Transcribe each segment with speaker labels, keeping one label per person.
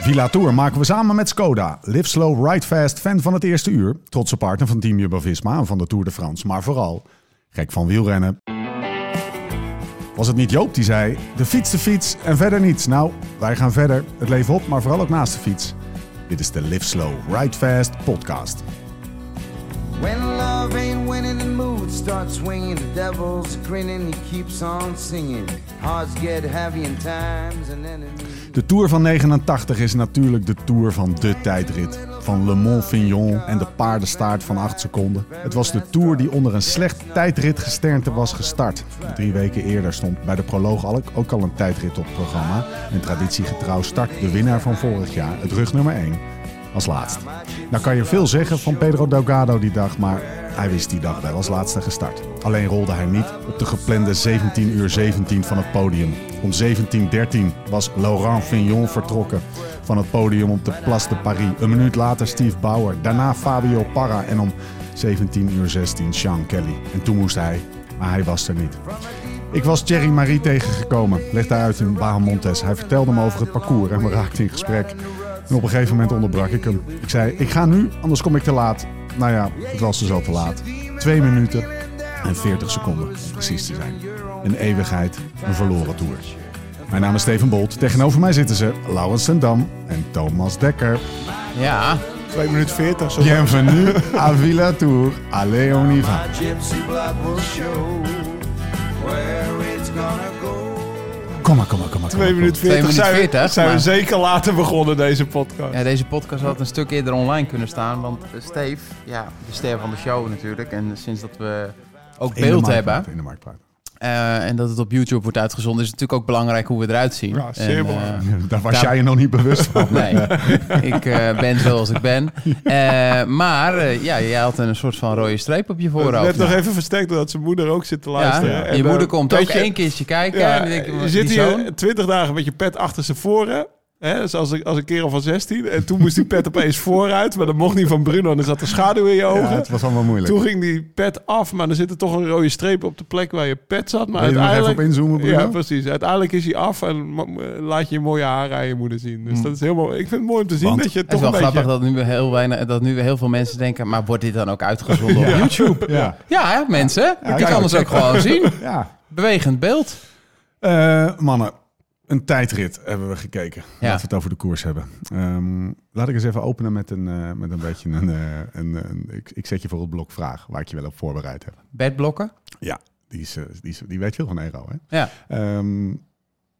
Speaker 1: Villa Tour maken we samen met Skoda. Live slow, ride fast, fan van het eerste uur. Trotse partner van Team Jumbo-Visma en van de Tour de France. Maar vooral, gek van wielrennen. Was het niet Joop die zei, de fiets, de fiets en verder niets. Nou, wij gaan verder. Het leven op, maar vooral ook naast de fiets. Dit is de Live Slow, Ride Fast podcast.
Speaker 2: When love ain't winning, the mood starts swinging. The devil's grinning, he keeps on singing. Hearts get heavy in times and enemies.
Speaker 1: De Tour van 89 is natuurlijk de Tour van de tijdrit. Van Le Mans-Vignon en de paardenstaart van 8 seconden. Het was de Tour die onder een slecht tijdritgesternte was gestart. Drie weken eerder stond bij de proloog Alk ook al een tijdrit op het programma. En traditiegetrouw start de winnaar van vorig jaar, het rug nummer 1, als laatst. Nou kan je veel zeggen van Pedro Delgado die dag, maar hij wist die dag wel als laatste gestart. Alleen rolde hij niet op de geplande 17 uur 17 van het podium. Om 17.13 was Laurent Vignon vertrokken van het podium op de Place de Paris. Een minuut later Steve Bauer, daarna Fabio Parra en om 17 uur 16 Sean Kelly. En toen moest hij, maar hij was er niet. Ik was Thierry Marie tegengekomen, legde uit in Bahamontes. Hij vertelde me over het parcours en we raakten in gesprek. En op een gegeven moment onderbrak ik hem. Ik zei, ik ga nu, anders kom ik te laat. Nou ja, het was dus al te laat. Twee minuten en 40 seconden, om precies te zijn. Een eeuwigheid, een verloren toer. Mijn naam is Steven Bolt. Tegenover mij zitten ze Laurens Sendam en Thomas Dekker.
Speaker 3: Ja,
Speaker 4: 2 minuten 40. Zo
Speaker 1: Bienvenue à Villa Tour. Allez, on y va.
Speaker 2: My gypsy blood will show where it's gonna go.
Speaker 1: Kom maar, kom maar, kom maar.
Speaker 4: 2 minuten 40
Speaker 3: minuten
Speaker 4: zijn, we-
Speaker 3: 40,
Speaker 4: zijn
Speaker 3: maar-
Speaker 4: we zeker later begonnen deze podcast.
Speaker 3: ja, deze podcast had een stuk eerder online kunnen staan. Want eh, Steve, ja, de ster van de show natuurlijk. En sinds dat we ook beeld hebben
Speaker 1: In de marktplaats.
Speaker 3: eh, en dat het op YouTube wordt uitgezonden, is het natuurlijk ook belangrijk hoe we eruit zien.
Speaker 4: Ja, zeer
Speaker 3: En, eh,
Speaker 4: belangrijk.
Speaker 1: Daar was
Speaker 3: Ja.
Speaker 1: jij je nog niet bewust van.
Speaker 3: Nee, ik eh, ben zoals ik ben. Eh, maar eh, ja, jij had een soort van rode streep op je voorhoofd.
Speaker 4: Net nog even versterkt dat zijn moeder ook zit te
Speaker 3: ja,
Speaker 4: luisteren. En,
Speaker 3: je
Speaker 4: eh,
Speaker 3: moeder komt
Speaker 4: dat
Speaker 3: ook
Speaker 4: je-
Speaker 3: één keertje kijken.
Speaker 4: Ja,
Speaker 3: en die denkt,
Speaker 4: je
Speaker 3: die
Speaker 4: zit
Speaker 3: zoon?
Speaker 4: hier 20 dagen met je pet achter ze voren. Hè, zoals ik, als een kerel van 16. En toen moest die pet opeens vooruit. Maar dat mocht niet van Bruno. En er zat een schaduw in je
Speaker 1: Ja,
Speaker 4: ogen.
Speaker 1: het was allemaal moeilijk.
Speaker 4: toen ging die pet af. Maar er zit er toch een rode streep op de plek waar je pet zat. Maar
Speaker 1: Wil je er nog even
Speaker 4: uiteindelijk...
Speaker 1: op inzoomen, Bruno?
Speaker 4: Ja, precies. Uiteindelijk is hij af en ma- laat je je mooie haren aan je moeder zien. Dus dat is helemaal... Ik vind het mooi om te zien
Speaker 1: Want-
Speaker 4: dat je
Speaker 3: Het is
Speaker 4: toch
Speaker 3: wel
Speaker 4: een beetje...
Speaker 3: grappig dat nu, weer heel weinig, dat nu weer heel veel mensen denken... maar wordt dit dan ook uitgezonden op YouTube?
Speaker 1: Ja.
Speaker 3: Ja, hè, mensen. je
Speaker 1: kijk,
Speaker 3: kan ons ook gewoon zien.
Speaker 1: ja.
Speaker 3: Bewegend beeld.
Speaker 1: Eh, mannen, een tijdrit hebben we gekeken.
Speaker 3: Ja.
Speaker 1: Laten we het over de koers hebben. Ehm, laat ik eens even openen met een, eh, met een beetje een... eh, een, een- ik, ik zet je voor het blok vraag, waar ik je wel op voorbereid heb.
Speaker 3: Bedblokken.
Speaker 1: Ja, die, is, eh, die, is- die weet veel van Eero, hè?
Speaker 3: Ja.
Speaker 1: Ehm,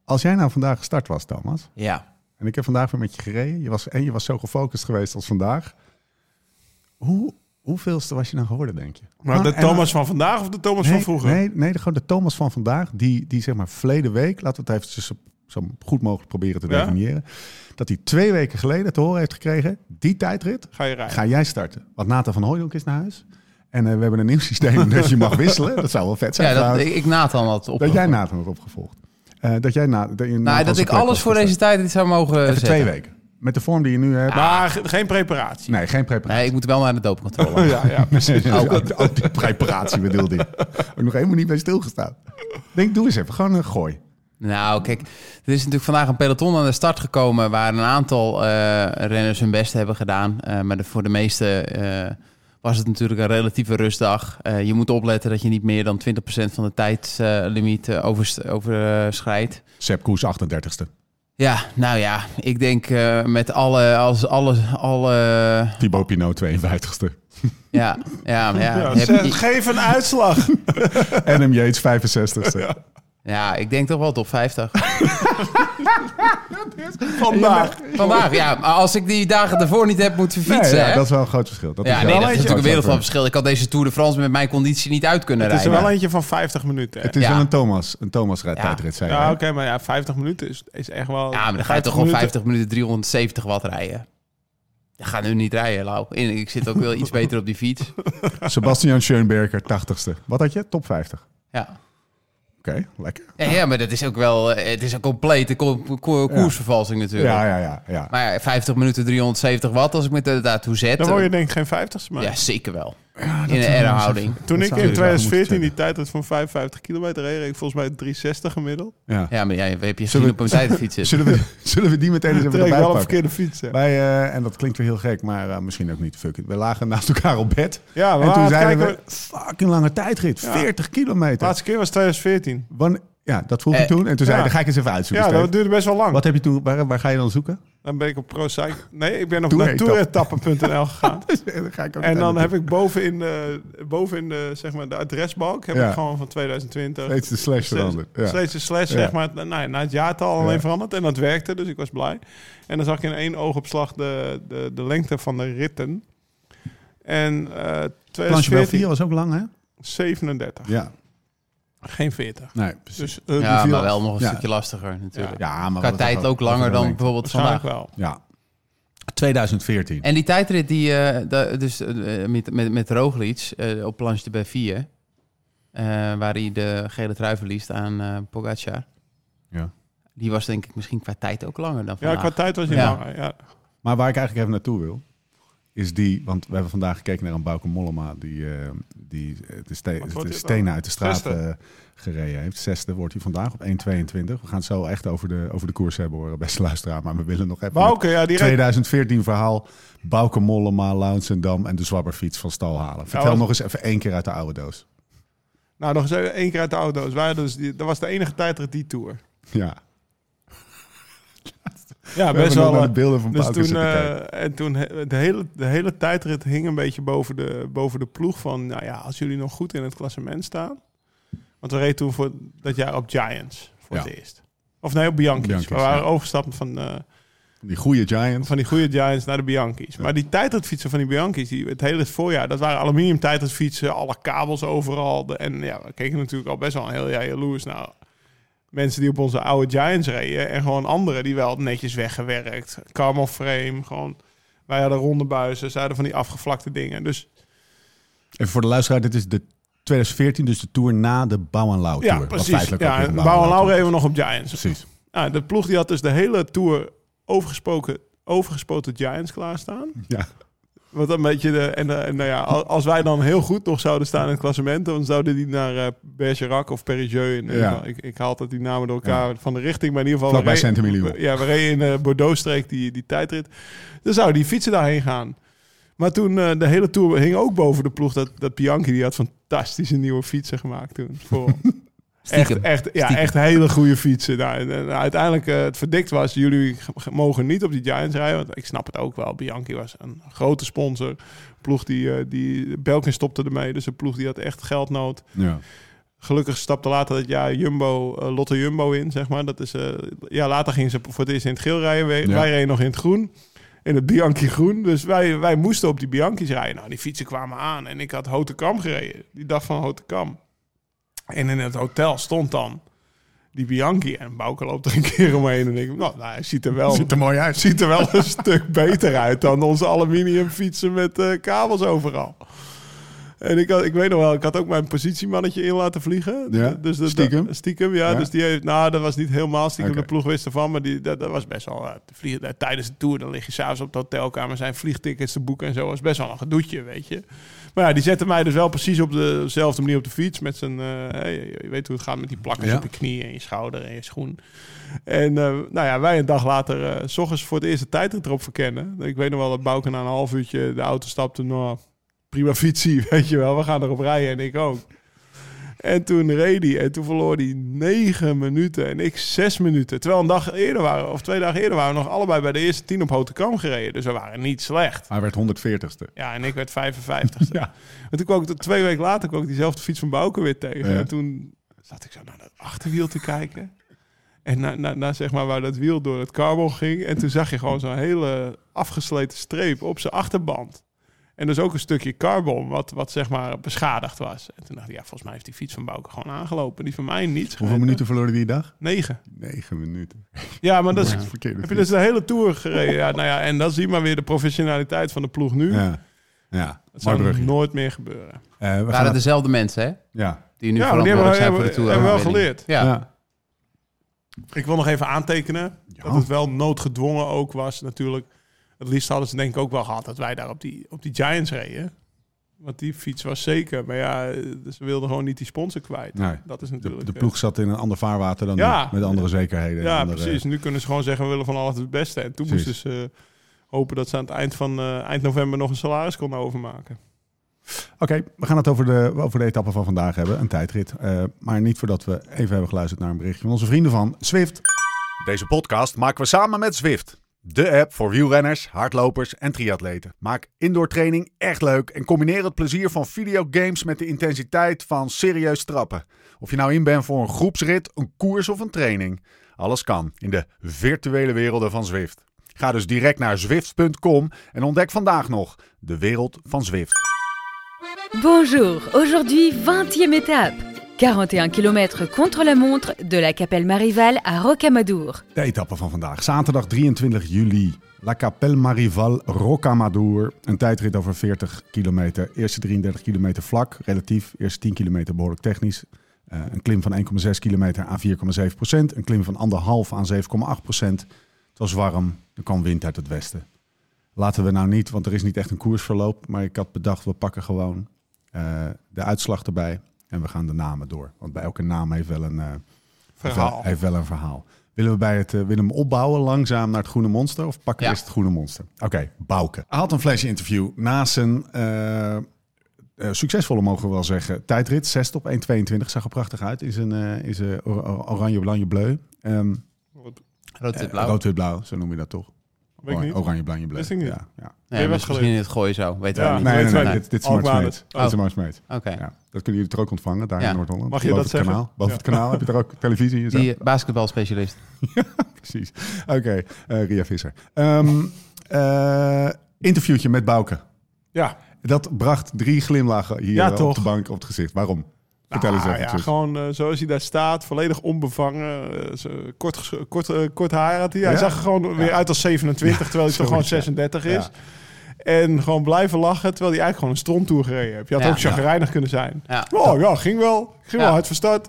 Speaker 1: als jij nou vandaag gestart was, Thomas,
Speaker 3: Ja.
Speaker 1: en ik heb vandaag weer met je gereden, je was, en je was zo gefocust geweest als vandaag. Hoe, hoeveelste was je nou geworden, denk je?
Speaker 4: Maar de
Speaker 1: en-
Speaker 4: Thomas van vandaag of de Thomas
Speaker 1: nee,
Speaker 4: van vroeger?
Speaker 1: Nee, nee de, gewoon de Thomas van vandaag, die, die zeg maar verleden week, laten we het even zo, zo goed mogelijk proberen te
Speaker 4: Ja.
Speaker 1: definiëren, dat hij twee weken geleden te horen heeft gekregen, die tijdrit
Speaker 4: Ga je rijden?
Speaker 1: ga jij starten. Want Nathan van Hooydonk is naar huis. En eh, we hebben een nieuw systeem dat je mag wisselen. Dat zou wel vet zijn
Speaker 3: ja dat,
Speaker 1: trouwens.
Speaker 3: ik, ik Nathan had op.
Speaker 1: nou. dat jij Nathan had opgevolgd. Eh, dat jij na, dat, je Nathan
Speaker 3: nou, dat
Speaker 1: zijn
Speaker 3: ik
Speaker 1: plek
Speaker 3: alles
Speaker 1: was
Speaker 3: voor
Speaker 1: gestart.
Speaker 3: deze tijd dit zou mogen
Speaker 1: Even
Speaker 3: zetten.
Speaker 1: twee weken. Met de vorm die je nu hebt.
Speaker 4: Maar ge- geen preparatie.
Speaker 1: Nee, geen preparatie.
Speaker 3: Nee, ik moet wel naar de doopcontrole.
Speaker 4: Ja, ja, precies.
Speaker 1: Ook, ook, die preparatie bedoelde ik. Ook nog helemaal niet bij stilgestaan. Denk, doe eens even. Gewoon een gooi.
Speaker 3: nou, kijk, er is natuurlijk vandaag een peloton aan de start gekomen... waar een aantal eh, renners hun best hebben gedaan. Eh, maar de- voor de meeste eh, was het natuurlijk een relatieve rustdag. Eh, je moet opletten dat je niet meer dan 20% van de tijdslimiet eh, overschrijdt.
Speaker 1: Sepp Koes, 38ste.
Speaker 3: ja, nou ja, ik denk eh, met alle, als, alle, alle
Speaker 1: Thibaut Pinot, 52ste.
Speaker 3: Ja, ja, ja.
Speaker 4: Ja,
Speaker 3: Heb-
Speaker 4: zeg, geef een uitslag.
Speaker 1: En hem Yates, 65ste.
Speaker 3: ja, ik denk toch wel top 50.
Speaker 4: Vandaag.
Speaker 3: Vandaag, ja. Maar als ik die dagen daarvoor niet heb moeten fietsen,
Speaker 1: Nee, ja,
Speaker 3: hè?
Speaker 1: dat is wel een groot verschil. Dat
Speaker 3: ja,
Speaker 1: wel
Speaker 3: nee, dat
Speaker 1: een
Speaker 3: is
Speaker 1: groot
Speaker 3: natuurlijk een wereld van
Speaker 1: verschil.
Speaker 3: verschil. Ik had deze Tour de France met mijn conditie niet uit kunnen
Speaker 4: Het is er
Speaker 3: rijden.
Speaker 4: wel eentje van 50 minuten. hè?
Speaker 1: Het is
Speaker 3: Ja.
Speaker 1: wel een Thomas, een Thomas tijdrit, zei
Speaker 4: Ja,
Speaker 1: hij.
Speaker 4: oké, maar ja, 50 minuten is, is echt wel...
Speaker 3: Ja, maar dan ga je toch gewoon
Speaker 4: minuten-
Speaker 3: 50 minuten 370 watt rijden. Je gaat nu niet rijden, Lau. En Ik zit ook wel iets beter op die fiets.
Speaker 1: Sebastian Schoenberger, 80ste. Wat had je? Top 50.
Speaker 3: Ja.
Speaker 1: Oké, lekker.
Speaker 3: Ja, ja, maar dat is ook wel... eh, Het is een complete ko- ko- koersvervalsing natuurlijk.
Speaker 1: Ja, ja, ja. ja.
Speaker 3: Maar ja, 50 minuten 370 watt, als ik me da- daartoe zet...
Speaker 4: Dan word je denk ik geen 50 maar.
Speaker 3: Ja, zeker wel. in een errorhouding.
Speaker 4: Toen
Speaker 1: Dat
Speaker 4: ik
Speaker 1: zou
Speaker 4: in
Speaker 1: je wel moeten
Speaker 4: 2014 die
Speaker 1: checken.
Speaker 4: tijdrit van 55 kilometer reed, reed ik volgens mij 360 gemiddeld.
Speaker 1: Ja.
Speaker 3: Ja, maar jij heb
Speaker 1: Zullen
Speaker 3: je gezien
Speaker 1: we-
Speaker 3: op een tijdfiets zitten.
Speaker 1: Zullen, we, zullen we die meteen eens
Speaker 4: Toen
Speaker 1: even
Speaker 4: reed ik
Speaker 1: erbij
Speaker 4: wel op
Speaker 1: pakken?
Speaker 4: verkeerde fiets. hè.
Speaker 1: Wij, eh, en dat klinkt weer heel gek, maar eh, misschien ook niet. Fuck it. We lagen naast elkaar op bed.
Speaker 4: Ja, maar
Speaker 1: en toen zeiden
Speaker 4: kijken,
Speaker 1: we, fucking lange tijdrit.
Speaker 4: Ja.
Speaker 1: 40
Speaker 4: de
Speaker 1: kilometer.
Speaker 4: laatste keer was 2014.
Speaker 1: Wanne- ja, dat vroeg ik
Speaker 3: Eh,
Speaker 1: toen. En toen zei
Speaker 4: ja.
Speaker 1: hij, dan ga ik eens even uitzoeken.
Speaker 4: Ja,
Speaker 1: Steve."
Speaker 4: dat duurde best wel lang.
Speaker 1: Wat heb je toen, waar, waar ga je dan zoeken?
Speaker 4: Dan ben ik op ProCycle. Nee, ik ben nog
Speaker 1: Tour-
Speaker 4: naar toeretappen.nl gegaan.
Speaker 1: Dan ga ik ook
Speaker 4: En dan
Speaker 1: uiteindelijk-
Speaker 4: heb ik bovenin de, bovenin de, zeg maar, de adresbalk heb
Speaker 1: Ja.
Speaker 4: ik gewoon van 2020.
Speaker 1: Steeds de slash
Speaker 4: steeds-
Speaker 1: veranderd. Ja.
Speaker 4: Steeds een slash,
Speaker 1: Ja.
Speaker 4: zeg maar. Nou, ja, na het jaartal alleen
Speaker 1: Ja.
Speaker 4: veranderd. En dat werkte, dus ik was blij. En dan zag ik in één oogopslag de, de, de lengte van de ritten. En eh
Speaker 1: Planche wel 4
Speaker 4: 2014,
Speaker 1: was ook lang, hè?
Speaker 4: 37.
Speaker 1: Ja,
Speaker 4: Geen 40.
Speaker 1: nee, precies.
Speaker 4: Dus eh,
Speaker 3: Ja,
Speaker 4: die
Speaker 3: maar
Speaker 4: viel
Speaker 3: wel nog een
Speaker 1: Ja.
Speaker 3: stukje lastiger natuurlijk.
Speaker 1: ja, maar
Speaker 3: Qua
Speaker 1: wat-
Speaker 3: tijd
Speaker 1: wat-
Speaker 3: ook
Speaker 1: wat
Speaker 3: langer
Speaker 1: een
Speaker 3: dan
Speaker 1: lengte.
Speaker 3: bijvoorbeeld vandaag.
Speaker 4: waarschijnlijk wel.
Speaker 1: Ja. 2014.
Speaker 3: En die tijdrit die, eh, da- dus eh, met, met, met Roglic eh, op Planche de Beville, eh, waar hij de gele trui verliest aan eh Pogacar.
Speaker 1: Ja.
Speaker 3: Die was denk ik misschien qua tijd ook langer dan
Speaker 4: Ja,
Speaker 3: vandaag.
Speaker 4: qua tijd was hij
Speaker 3: Ja.
Speaker 4: langer. Ja.
Speaker 1: Maar waar ik eigenlijk even naartoe wil, is die... Want we hebben vandaag gekeken naar een Bauke Mollema... die, eh, die eh, de, ste-
Speaker 4: Wat wordt
Speaker 1: de
Speaker 4: dit
Speaker 1: stenen
Speaker 4: dan?
Speaker 1: uit de straat
Speaker 4: Zesde.
Speaker 1: eh, gereden heeft. Zesde wordt hij vandaag op 1.22. We gaan het zo echt over de, over de koers hebben, hoor, beste luisteraar. Maar we willen nog even...
Speaker 4: Bouke, ja, die reed
Speaker 1: 2014 verhaal. Bouke Mollema, Launsendam en de zwabberfiets van stal halen. Vertel
Speaker 4: wat-
Speaker 1: nog eens even één keer uit de oude doos.
Speaker 4: Nou, nog eens even één keer uit de auto's. Wij dus die, dat was de enige tijdrit die tour.
Speaker 1: Ja,
Speaker 4: Ja,
Speaker 1: we hebben nog naar
Speaker 4: eh,
Speaker 1: de beelden van
Speaker 4: Dus
Speaker 1: Bouke
Speaker 4: toen,
Speaker 1: zitten kijken.
Speaker 4: eh, en toen he- de, hele, de hele tijdrit hing een beetje boven de, boven de ploeg van... Nou ja, als jullie nog goed in het klassement staan. Want we reden toen voor dat jaar op Giants voor
Speaker 1: Ja.
Speaker 4: het eerst. Of nee, op Bianchi's.
Speaker 1: Bianchi's,
Speaker 4: we waren
Speaker 1: ja.
Speaker 4: overgestapt van, eh,
Speaker 1: Die goede Giants.
Speaker 4: van die goede Giants naar de Bianchi's. Maar die tijdritfietsen van die Bianchi's, die, het hele voorjaar... Dat waren aluminium tijdritfietsen, alle kabels overal. De- en ja, we keken natuurlijk al best wel een heel jaar jaloers naar... Mensen die op onze oude Giants reden. En gewoon anderen die wel netjes weggewerkt. Carmel frame, gewoon... Wij hadden ronde buizen, zij hadden van die afgevlakte dingen. Dus
Speaker 1: Even voor de luisteraar, dit is de 2014, dus de tour na de Bouwenlauw Tour.
Speaker 4: ja,
Speaker 1: Wat
Speaker 4: precies.
Speaker 1: feitelijk ook
Speaker 4: Ja,
Speaker 1: weer een
Speaker 4: en Bouw en
Speaker 1: Bouwenlauw
Speaker 4: Lauw
Speaker 1: Tour
Speaker 4: reden we nog op Giants.
Speaker 1: is. Precies.
Speaker 4: Ja, de ploeg die had dus de hele tour overgesproken, overgespoten Giants klaarstaan.
Speaker 1: Ja.
Speaker 4: Wat een beetje de, en, eh, en nou ja, al- als wij dan heel goed nog zouden staan in het klassement, dan zouden die naar eh, Bergerac of Perigeux. In, ieder
Speaker 1: Ja.
Speaker 4: geval. ik, ik haal altijd die namen door elkaar van de richting, maar in ieder geval.
Speaker 1: Vlakbij
Speaker 4: we reden-
Speaker 1: Saint-Emilion.
Speaker 4: we- Ja, we reden in de Bordeaux-streek die, die tijdrit. Dan zouden die fietsen daarheen gaan. Maar toen, eh, de hele tour hing ook boven de ploeg dat, dat Bianchi, die had fantastische nieuwe fietsen gemaakt toen. Voor,
Speaker 3: Stiekem.
Speaker 4: Echt, echt, ja,
Speaker 3: Stiekem.
Speaker 4: echt hele goede fietsen. Nou, en, en uiteindelijk eh, het verdikt was, jullie g- g- mogen niet op die Giants rijden. Want ik snap het ook wel. Bianchi was een grote sponsor. Ploeg die, eh, die Belkin stopte ermee. Dus een ploeg die had echt geldnood.
Speaker 1: Ja.
Speaker 4: Gelukkig stapte later dat jaar Jumbo, eh, Lotte Jumbo in, zeg maar. Dat is, eh, ja, later gingen ze voor het eerst in het geel rijden. Wij,
Speaker 1: Ja.
Speaker 4: wij reden nog in het groen. In het Bianchi groen. Dus wij, wij moesten op die Bianchi's rijden. Nou, die fietsen kwamen aan. En ik had Hote Kam gereden. Die dag van Hote Kam. En in het hotel stond dan die Bianchi. En Bouke loopt er een keer omheen. En ik, nou, nou hij ziet er wel
Speaker 1: Ziet er mooi uit.
Speaker 4: ziet er wel een stuk beter uit dan onze aluminium fietsen met eh, kabels overal. En ik, had, ik weet nog wel, ik had ook mijn positiemannetje in laten vliegen.
Speaker 1: Ja,
Speaker 4: dus dat-
Speaker 1: stiekem?
Speaker 4: dat- stiekem, ja,
Speaker 1: Ja.
Speaker 4: Dus die heeft, nou, dat was niet helemaal stiekem.
Speaker 1: Oké.
Speaker 4: De ploeg wist ervan, maar die, dat, dat was best wel... eh, te vliegen, eh, tijdens de tour, dan lig je s'avonds op de hotelkamer... zijn vliegtickets te boeken en zo. was best wel een gedoetje, weet je. Maar ja, die zette mij dus wel precies op dezelfde manier op de fiets. Met zijn, eh, hey, je weet hoe het gaat met die plakkers
Speaker 1: Ja.
Speaker 4: op je knie en je schouder en je schoen. En eh, nou ja, wij een dag later, eh, s ochtends voor het eerste tijdrit erop verkennen. Ik weet nog wel dat Bouke na een half uurtje de auto stapte. Nou, prima fietsie, weet je wel. We gaan erop rijden en ik ook. En toen reed hij en toen verloor hij negen minuten en ik zes minuten. Terwijl een dag eerder waren, of twee dagen eerder waren we nog allebei bij de eerste tien op Hote Kam gereden. Dus we waren niet slecht.
Speaker 1: Hij werd 140ste.
Speaker 4: Ja, en ik werd 55.
Speaker 1: Ja.
Speaker 4: En toen kwam ik twee weken later kwam ik diezelfde fiets van Bouke weer tegen.
Speaker 1: Ja.
Speaker 4: En toen zat ik zo naar dat achterwiel te kijken. En naar, naar, naar zeg maar waar dat wiel door het carbon ging. En toen zag je gewoon zo'n hele afgesleten streep op zijn achterband. En dus ook een stukje carbon wat, wat zeg maar beschadigd was. En toen dacht ik, ja, volgens mij heeft die fiets van Bouke gewoon aangelopen. Die van mij niet.
Speaker 1: Hoeveel minuten verloor hij die dag?
Speaker 4: Negen.
Speaker 1: Negen minuten.
Speaker 4: Ja, maar dat is...
Speaker 1: Ja. Verkeerde
Speaker 4: Heb je dus de hele tour gereden? Ja, nou ja, en dan zie je maar weer de professionaliteit van de ploeg nu.
Speaker 1: fiets. Ja. Ja.
Speaker 4: Dat
Speaker 1: Mooi
Speaker 4: zou
Speaker 1: brugje.
Speaker 4: nooit meer gebeuren.
Speaker 1: Eh, we gaan
Speaker 3: waren dezelfde mensen, hè?
Speaker 1: Ja.
Speaker 3: Die nu
Speaker 4: Ja, maar die
Speaker 3: verantwoordelijk zijn
Speaker 4: hebben
Speaker 3: voor de
Speaker 4: we-
Speaker 3: Tour.
Speaker 4: hebben we wel
Speaker 3: overwinning.
Speaker 1: Ja.
Speaker 3: Ja.
Speaker 4: Ik wil nog even aantekenen
Speaker 1: Ja.
Speaker 4: dat het wel noodgedwongen ook was natuurlijk. Het liefst hadden ze denk ik ook wel gehad dat wij daar op die, op die Giants reden. Want die fiets was zeker. Maar ja, eh, ze wilden gewoon niet die sponsor kwijt.
Speaker 1: Nee.
Speaker 4: Dat is
Speaker 1: De,
Speaker 4: natuurlijk...
Speaker 1: de
Speaker 4: eh,
Speaker 1: ploeg zat in een ander vaarwater dan
Speaker 4: Ja.
Speaker 1: nu, met andere zekerheden. en
Speaker 4: Ja,
Speaker 1: andere-
Speaker 4: precies. Nu kunnen ze gewoon zeggen, we willen van alles het beste. En toen
Speaker 1: Precies.
Speaker 4: moesten ze eh, hopen dat ze aan het eind van eh, eind november nog een salaris konden overmaken.
Speaker 1: Oké, we gaan het over de, over de etappe van vandaag hebben, een tijdrit. Eh, maar niet voordat we even hebben geluisterd naar een berichtje van onze vrienden van Zwift.
Speaker 5: Deze podcast maken we samen met Zwift. De app voor wielrenners, hardlopers en triatleten. Maak indoor training echt leuk en combineer het plezier van videogames met de intensiteit van serieus trappen. Of je nou in bent voor een groepsrit, een koers of een training. Alles kan in de virtuele werelden van Zwift. Ga dus direct naar zwift.com en ontdek vandaag nog de wereld van Zwift.
Speaker 6: Bonjour, aujourd'hui 20e étape. 41 km contre la montre de la Capelle Marival à Rocamadour.
Speaker 1: De etappe van vandaag, zaterdag 23 juli. La Capelle Marival Rocamadour. Een tijdrit over 40 kilometer. Eerste 33 kilometer vlak, relatief. Eerste 10 kilometer behoorlijk technisch. Eh, een klim van 1,6 kilometer aan 4,7 procent. Een klim van 1,5 aan 7,8 procent. Het was warm, er kwam wind uit het westen. Laten we nou niet, want er is niet echt een koersverloop. Maar ik had bedacht, we pakken gewoon eh, de uitslag erbij. En we gaan de namen door. Want bij elke naam heeft wel een... eh,
Speaker 4: Verhaal.
Speaker 1: heeft wel- Heeft wel een verhaal. Willen we bij het eh, willen we hem opbouwen langzaam naar het groene monster of pakken
Speaker 3: Ja.
Speaker 1: we eerst het groene monster? Oké, Bouke. Hij had een flesje interview na zijn eh, eh, succesvolle, mogen we wel zeggen, tijdrit. 6 op 1,22. Zag er prachtig uit in zijn, eh, in zijn or- or- oranje, blanje, bleu. Ehm,
Speaker 4: Wat-
Speaker 3: Rood, wit,
Speaker 1: eh,
Speaker 3: blauw.
Speaker 1: Rood, wit, blauw. Zo noem je dat toch?
Speaker 4: Weet ik
Speaker 1: Oranje-
Speaker 4: niet.
Speaker 1: Oranje, blanje, bleu.
Speaker 4: Wist ik niet.
Speaker 1: Ja, ja.
Speaker 3: Nee,
Speaker 4: je
Speaker 3: maar
Speaker 4: was
Speaker 3: is misschien
Speaker 4: geleerd.
Speaker 3: in het gooi zo. Weten
Speaker 4: Ja.
Speaker 3: we niet.
Speaker 1: Ah, Nee, nee, nee,
Speaker 4: wij
Speaker 1: nee,
Speaker 4: niet.
Speaker 1: Dit, dit is
Speaker 4: Alkmaar
Speaker 1: Maarten
Speaker 4: het.
Speaker 1: Smeet. Dit is
Speaker 3: Oh.
Speaker 1: Maarten Smeet.
Speaker 3: Oké.
Speaker 1: Ja, dat kunnen jullie er ook ontvangen, daar
Speaker 3: Ja.
Speaker 1: in Noord-Holland.
Speaker 4: Mag je
Speaker 1: Boven
Speaker 4: dat
Speaker 1: het
Speaker 4: zeggen?
Speaker 1: Kanaal. Boven het kanaal heb je er ook televisie in. zo.
Speaker 3: Die eh, basketbalspecialist.
Speaker 1: Precies. Oké, eh, Ria Visser. Ehm, eh, interviewtje met Bouke.
Speaker 4: Ja,
Speaker 1: Dat bracht drie glimlachen hier
Speaker 4: Ja,
Speaker 1: eh, op
Speaker 4: toch?
Speaker 1: de bank op het gezicht. Waarom? Vertel eens
Speaker 4: Nou,
Speaker 1: even.
Speaker 4: ja,
Speaker 1: Tjus.
Speaker 4: gewoon eh, zoals hij daar staat, volledig onbevangen. eh, zo- kort, ges- kort, eh, kort haar had hij. Hij
Speaker 1: Ja.
Speaker 4: zag er gewoon weer uit als 27, terwijl hij toch
Speaker 1: zoiets,
Speaker 4: gewoon
Speaker 1: ja.
Speaker 4: 36 is. En gewoon blijven lachen, terwijl hij eigenlijk gewoon een stromtoer gereden heeft. Je had
Speaker 3: Ja.
Speaker 4: ook chagrijnig kunnen zijn.
Speaker 3: Ja.
Speaker 4: Oh ja, ging wel. Ging
Speaker 3: Ja.
Speaker 4: wel hard verstart.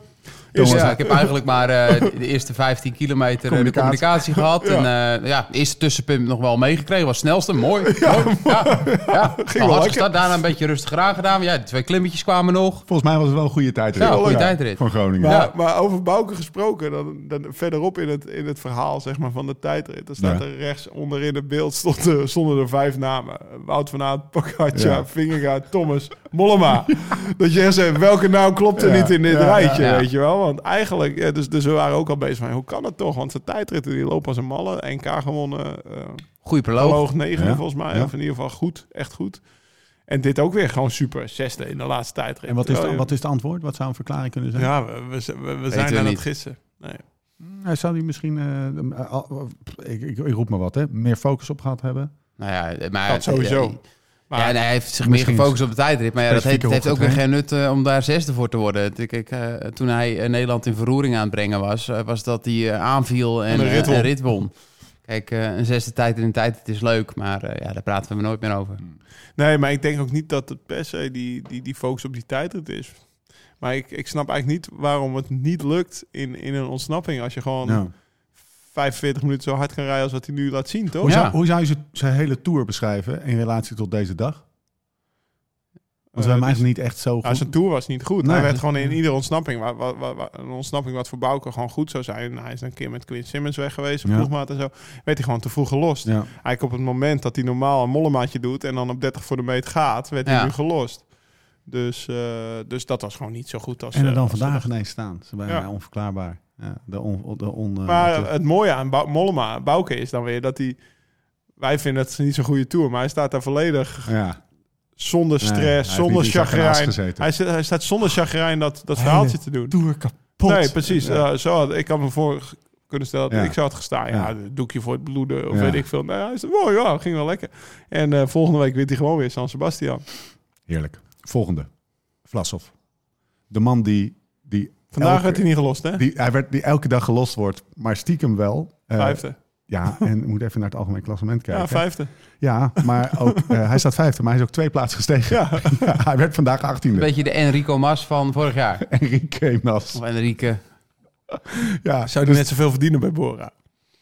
Speaker 3: Dus
Speaker 4: Eerste-
Speaker 3: ja, ik heb eigenlijk maar eh, de eerste 15 kilometer eh, de
Speaker 1: Communicatie.
Speaker 3: communicatie gehad.
Speaker 4: Ja.
Speaker 3: En eh, ja, het eerste tussenpunt nog wel meegekregen. Was het snelste, mooi. Ja, mooi. ja, ja. Wel hard
Speaker 4: lekker.
Speaker 3: gestart, daarna een beetje rustig aan gedaan. Ja, de twee klimmetjes kwamen nog.
Speaker 1: Volgens mij was het wel een goede tijdrit.
Speaker 3: Ja, goede tijdrit.
Speaker 1: Van Groningen.
Speaker 4: Maar,
Speaker 3: Ja.
Speaker 4: maar over Bouke gesproken, dan, dan verderop in het, in het verhaal zeg maar, van de tijdrit. Dan staat
Speaker 1: Ja.
Speaker 4: er rechts onderin het beeld stond er, stonden er vijf namen. Wout van Aert, Pocaccia,
Speaker 1: Ja.
Speaker 4: Vingegaard, Thomas, Mollema. Dat je echt zegt, welke naam klopt er
Speaker 1: Ja.
Speaker 4: niet in dit
Speaker 1: Ja,
Speaker 4: rijtje,
Speaker 3: ja, ja.
Speaker 4: weet je wel? Want eigenlijk, ja, dus, dus we waren ook al bezig van, hoe kan dat toch? Want zijn tijdritten die lopen als een malle. NK gewonnen, eh
Speaker 3: Goeie proloog.
Speaker 4: hoog 9
Speaker 1: Ja.
Speaker 4: volgens mij.
Speaker 1: Ja.
Speaker 4: Of in ieder geval goed, echt goed. En dit ook weer gewoon super, zesde in de laatste tijdrit.
Speaker 1: En wat is,
Speaker 4: Terwijl
Speaker 1: het,
Speaker 4: je-
Speaker 1: wat is het antwoord? Wat zou een verklaring kunnen zijn?
Speaker 4: ja, we, we- we- we zijn
Speaker 3: we
Speaker 4: aan
Speaker 3: niet.
Speaker 4: het gissen. Nee.
Speaker 1: Hij Zou die misschien, eh, eh, al- ik, ik, ik roep maar wat, hè, meer focus op gehad hebben?
Speaker 3: Nou ja, maar, eh,
Speaker 4: Dat sowieso. Maar
Speaker 3: Ja, nee, hij heeft zich meer
Speaker 1: Misschien
Speaker 3: gefocust op de tijdrit. Maar ja, dat heeft,
Speaker 1: specifieke
Speaker 3: het heeft ook weer geen
Speaker 1: hooggetraind.
Speaker 3: nut eh, om daar zesde voor te worden. Ik, ik, eh, toen hij eh, Nederland in verroering aan het brengen was, eh, was dat hij eh, aanviel en
Speaker 4: En een
Speaker 3: eh,
Speaker 4: rit won.
Speaker 3: een rit won. Kijk, eh, een zesde tijd in een tijd, het is leuk, maar eh, ja, daar praten we nooit meer over.
Speaker 4: nee, maar ik denk ook niet dat het per se die, die, die focus op die tijdrit is. Maar ik, ik snap eigenlijk niet waarom het niet lukt in, in een ontsnapping. Als je gewoon
Speaker 1: Ja.
Speaker 4: 45 minuten zo hard kan rijden als wat hij nu laat zien, toch?
Speaker 1: Hoe,
Speaker 3: Ja.
Speaker 1: zou, hoe zou je ze- zijn hele tour beschrijven in relatie tot deze dag? Want we
Speaker 4: Eh,
Speaker 1: hebben eigenlijk niet echt zo
Speaker 4: Ja,
Speaker 1: goed...
Speaker 4: zijn tour was niet goed.
Speaker 1: Nee.
Speaker 4: hij werd gewoon in iedere ontsnapping, wa- wa- wa- wa- een ontsnapping wat voor Bouke gewoon goed zou zijn. Hij is dan een keer met Quinn Simmons weg geweest, een
Speaker 1: Ja.
Speaker 4: ploegmaat en zo. Werd hij gewoon te vroeg gelost.
Speaker 1: Ja.
Speaker 4: Eigenlijk op het moment dat hij normaal een mollemaatje doet en dan op 30 voor de meet gaat, werd
Speaker 3: Ja.
Speaker 4: hij nu gelost. Dus, eh, dus dat was gewoon niet zo goed als...
Speaker 1: En er
Speaker 4: eh,
Speaker 1: dan
Speaker 4: als-
Speaker 1: vandaag ineens staan. Ze zijn
Speaker 4: Ja.
Speaker 1: bijna onverklaarbaar. Ja, de on, de on, eh,
Speaker 4: Maar
Speaker 1: de-
Speaker 4: het mooie aan Bou- Mollema, Bouke, is dan weer dat hij... Wij vinden het niet zo'n goede tour, maar hij staat daar volledig
Speaker 1: ja.
Speaker 4: zonder
Speaker 1: Nee, hij
Speaker 4: eh, stress,
Speaker 1: heeft
Speaker 4: zonder
Speaker 1: niet in chagrijns
Speaker 4: chagrijn.
Speaker 1: gezeten.
Speaker 4: Hij, zit- hij staat zonder chagrijn dat, dat
Speaker 1: Hele
Speaker 4: verhaaltje te doen.
Speaker 1: Tour kapot.
Speaker 4: Nee, precies.
Speaker 1: Ja.
Speaker 4: Eh, zo had, ik had me voor kunnen stellen, dat
Speaker 1: Ja.
Speaker 4: ik zou het gestaan. Ja,
Speaker 1: Ja.
Speaker 4: een doekje voor het bloeden of
Speaker 1: Ja.
Speaker 4: weet ik veel. Nou, hij is mooi, ja, ging wel lekker. En eh, volgende week wint hij gewoon weer San Sebastian.
Speaker 1: Heerlijk. Volgende. Vlasov. De man die... die
Speaker 4: Vandaag
Speaker 1: elke,
Speaker 4: werd hij niet gelost, hè?
Speaker 1: die, hij werd, die elke dag gelost wordt, maar stiekem wel. Eh,
Speaker 4: vijfde.
Speaker 1: Ja, en moet even naar het algemeen klassement kijken.
Speaker 4: Ja, vijfde.
Speaker 1: Ja, maar ook, eh, hij staat vijfde, maar hij is ook twee plaatsen gestegen.
Speaker 4: Ja.
Speaker 1: Ja, hij werd vandaag
Speaker 3: Een
Speaker 1: achttiende.
Speaker 3: beetje de Enrico Mas van vorig jaar.
Speaker 1: Enrique Mas.
Speaker 3: Of Enrique.
Speaker 1: Ja,
Speaker 4: Zou hij net zoveel verdienen bij Bora?
Speaker 1: nou,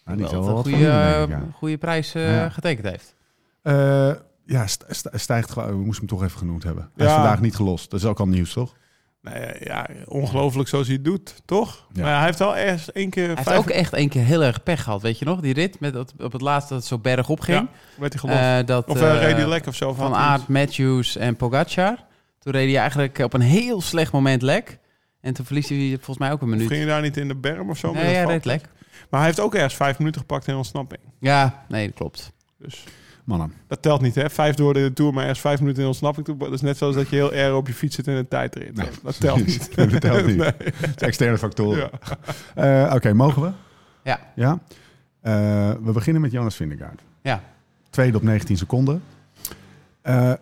Speaker 3: Die
Speaker 1: die
Speaker 3: wel
Speaker 1: zal
Speaker 3: een
Speaker 1: wel wat
Speaker 3: goede,
Speaker 1: van winnen, denk ik, ja.
Speaker 3: eh, goede prijs eh,
Speaker 1: Ja.
Speaker 3: getekend heeft.
Speaker 1: Eh, Ja, st- st- stijgt gewoon. Oh, We moesten hem toch even genoemd hebben. Hij is
Speaker 4: Ja.
Speaker 1: vandaag niet gelost. Dat is ook al nieuws, toch?
Speaker 4: Nou ja, ja, ongelooflijk zoals hij het doet, toch?
Speaker 1: Ja.
Speaker 4: Maar hij heeft wel ergens één keer
Speaker 3: Hij heeft
Speaker 4: vijf...
Speaker 3: ook echt één keer heel erg pech gehad, weet je nog? Die rit met dat, op het laatste dat het zo berg op ging.
Speaker 4: Ja, werd hij gelost.
Speaker 3: Eh, dat,
Speaker 4: of uh,
Speaker 3: eh,
Speaker 4: reed hij lek of zo?
Speaker 3: Van
Speaker 4: had hij
Speaker 3: Aert, Matthews en Pogacar. Toen reed hij eigenlijk eh, op een heel slecht moment lek. En toen verliest hij volgens mij ook een
Speaker 4: iets? Of
Speaker 3: minuut.
Speaker 4: Ging hij daar niet in de berm of zo? met
Speaker 3: Nee, hij
Speaker 4: dat
Speaker 3: reed
Speaker 4: vat?
Speaker 3: lek.
Speaker 4: Maar hij heeft ook ergens vijf minuten gepakt in ontsnapping.
Speaker 3: Ja, nee, dat klopt.
Speaker 4: Dus
Speaker 1: Mannen.
Speaker 4: dat telt niet, hè? Vijf door de Tour, maar ergens vijf minuten in ontsnapping. toe- Dat is net zoals dat je heel erg op je fiets zit in een tijdrit.
Speaker 1: Nee.
Speaker 4: Dat telt niet.
Speaker 1: Nee, dat telt niet.
Speaker 4: Nee.
Speaker 1: Het zijn externe factoren.
Speaker 4: Ja.
Speaker 1: Eh, Oké, mogen we?
Speaker 3: Ja.
Speaker 1: Ja. Eh, we beginnen met Jonas Vindegaard.
Speaker 3: Ja.
Speaker 1: Tweede op 19 seconden. Eh,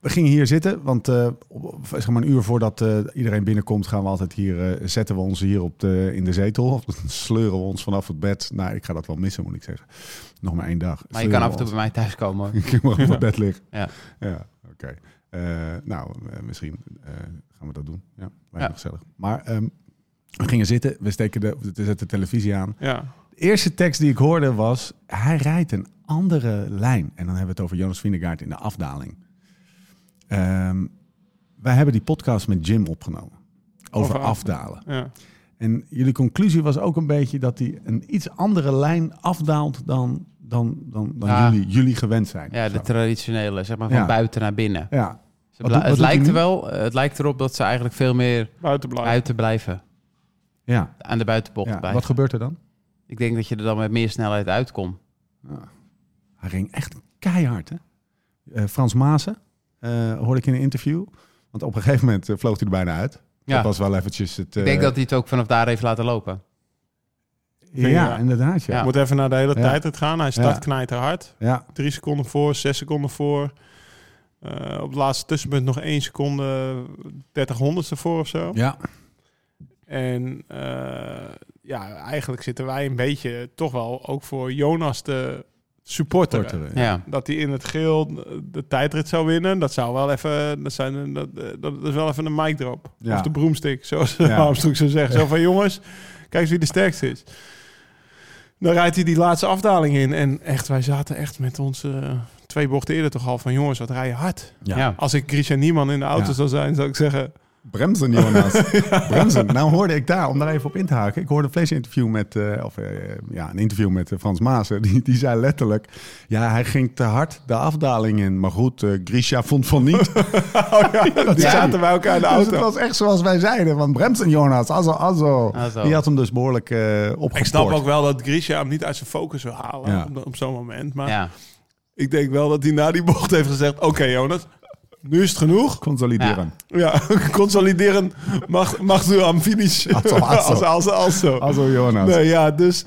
Speaker 1: we gingen hier zitten, want eh, op- zeg maar een uur voordat eh, iedereen binnenkomt, gaan we altijd hier, eh, zetten we ons hier op de, in de zetel. Of sleuren we ons vanaf het bed. Nou, ik ga dat wel missen, moet ik zeggen. Nog maar één dag.
Speaker 3: Maar je kan af en
Speaker 1: Sleuren
Speaker 3: toe
Speaker 1: we
Speaker 3: bij mij thuis komen. hoor.
Speaker 1: ons. Ik mag op het bed liggen.
Speaker 3: Ja.
Speaker 1: Ja, oké. Eh, nou, eh, misschien eh, gaan we dat doen. Ja, lijkt
Speaker 3: Ja.
Speaker 1: me gezellig. Maar ehm, we gingen zitten, we, steken de, we zetten de televisie aan.
Speaker 4: Ja.
Speaker 1: De eerste tekst die ik hoorde was... Hij rijdt een andere lijn. En dan hebben we het over Jonas Vingegaard in de afdaling. Ehm, wij hebben die podcast met Jim opgenomen. Over,
Speaker 4: Over af-
Speaker 1: afdalen.
Speaker 4: Ja.
Speaker 1: En jullie conclusie was ook een beetje dat hij een iets andere lijn afdaalt dan, dan, dan, dan
Speaker 3: Ja.
Speaker 1: jullie, jullie gewend zijn.
Speaker 3: Ja,
Speaker 1: Zo.
Speaker 3: de traditionele, zeg maar van
Speaker 1: Ja.
Speaker 3: buiten naar binnen.
Speaker 1: ja.
Speaker 3: Ze
Speaker 1: Wat
Speaker 3: bla-
Speaker 1: doet- wat
Speaker 3: het,
Speaker 1: doet hij
Speaker 3: lijkt er
Speaker 1: nu?
Speaker 3: wel, eh, het lijkt erop dat ze eigenlijk veel meer
Speaker 4: Buiten blijven.
Speaker 3: buiten blijven.
Speaker 1: ja.
Speaker 3: Aan de buitenbocht
Speaker 1: ja.
Speaker 3: blijven.
Speaker 1: Wat gebeurt er dan?
Speaker 3: Ik denk dat je er dan met meer snelheid uitkomt.
Speaker 1: Hij ging echt keihard, hè? Eh, Frans Maassen eh, hoorde ik in een interview. Want op een gegeven moment eh, vloog hij er bijna uit.
Speaker 3: Ja.
Speaker 1: Dat was wel eventjes het...
Speaker 3: Ik denk
Speaker 1: eh,
Speaker 3: dat hij het ook vanaf daar heeft laten lopen.
Speaker 1: Ja,
Speaker 4: Ja.
Speaker 1: inderdaad. Ja.
Speaker 3: Ja.
Speaker 4: Moet even naar de hele
Speaker 1: Ja.
Speaker 4: tijd het gaan. Hij start
Speaker 1: Ja.
Speaker 4: knijter hard.
Speaker 1: Ja.
Speaker 4: Drie seconden voor, zes seconden voor. Eh, op het laatste tussenpunt nog één seconde, dertig honderdste voor of zo.
Speaker 1: Ja.
Speaker 4: En eh, ja, eigenlijk zitten wij een beetje toch wel ook voor Jonas te supporteren.
Speaker 1: Kortere.
Speaker 3: Ja.
Speaker 4: Dat hij in het geel de tijdrit zou winnen, dat zou wel even, dat, zijn, dat, dat is wel even een mic drop.
Speaker 1: Ja.
Speaker 4: Of de broomstick, zoals
Speaker 1: Ja.
Speaker 4: Armstrong zou zeggen. Zo van jongens, kijk eens wie de sterkste is. Dan rijdt hij die laatste afdaling in. En echt, wij zaten echt met onze eh, twee bochten eerder toch al van jongens, wat rij je hard.
Speaker 1: Ja.
Speaker 3: Ja.
Speaker 4: Als ik Christian Niemann in de auto
Speaker 1: Ja.
Speaker 4: zou zijn, zou ik zeggen,
Speaker 1: Bremsen, Jonas. Bremsen. Nou hoorde ik daar, om daar even op in te haken. Ik hoorde een vleesinterview met, eh, of eh, ja, een interview met eh, Frans Maassen. Die, die zei letterlijk, ja, hij ging te hard de afdaling in. Maar goed, eh, Grisha vond van niet.
Speaker 4: oh ja, die
Speaker 1: zei
Speaker 4: zaten
Speaker 1: hij.
Speaker 4: bij elkaar in de
Speaker 1: Dus het
Speaker 4: auto.
Speaker 1: was echt zoals wij zeiden, want Bremsen, Jonas, also, also.
Speaker 3: Alzo.
Speaker 1: Die had hem dus behoorlijk eh opgeport.
Speaker 4: Ik snap ook wel dat Grisha hem niet uit zijn focus wil halen
Speaker 1: Ja.
Speaker 4: op, op zo'n moment.
Speaker 1: Ah.
Speaker 4: Maar
Speaker 3: ja.
Speaker 4: ik denk wel dat hij na die bocht heeft gezegd... Oké Jonas, nu is het genoeg.
Speaker 1: Consolideren.
Speaker 4: Ja, consolideren mag, mag u aan finish.
Speaker 1: Also, also.
Speaker 4: als, als, als zo.
Speaker 1: Also, Jonas.
Speaker 4: Nee, ja, dus...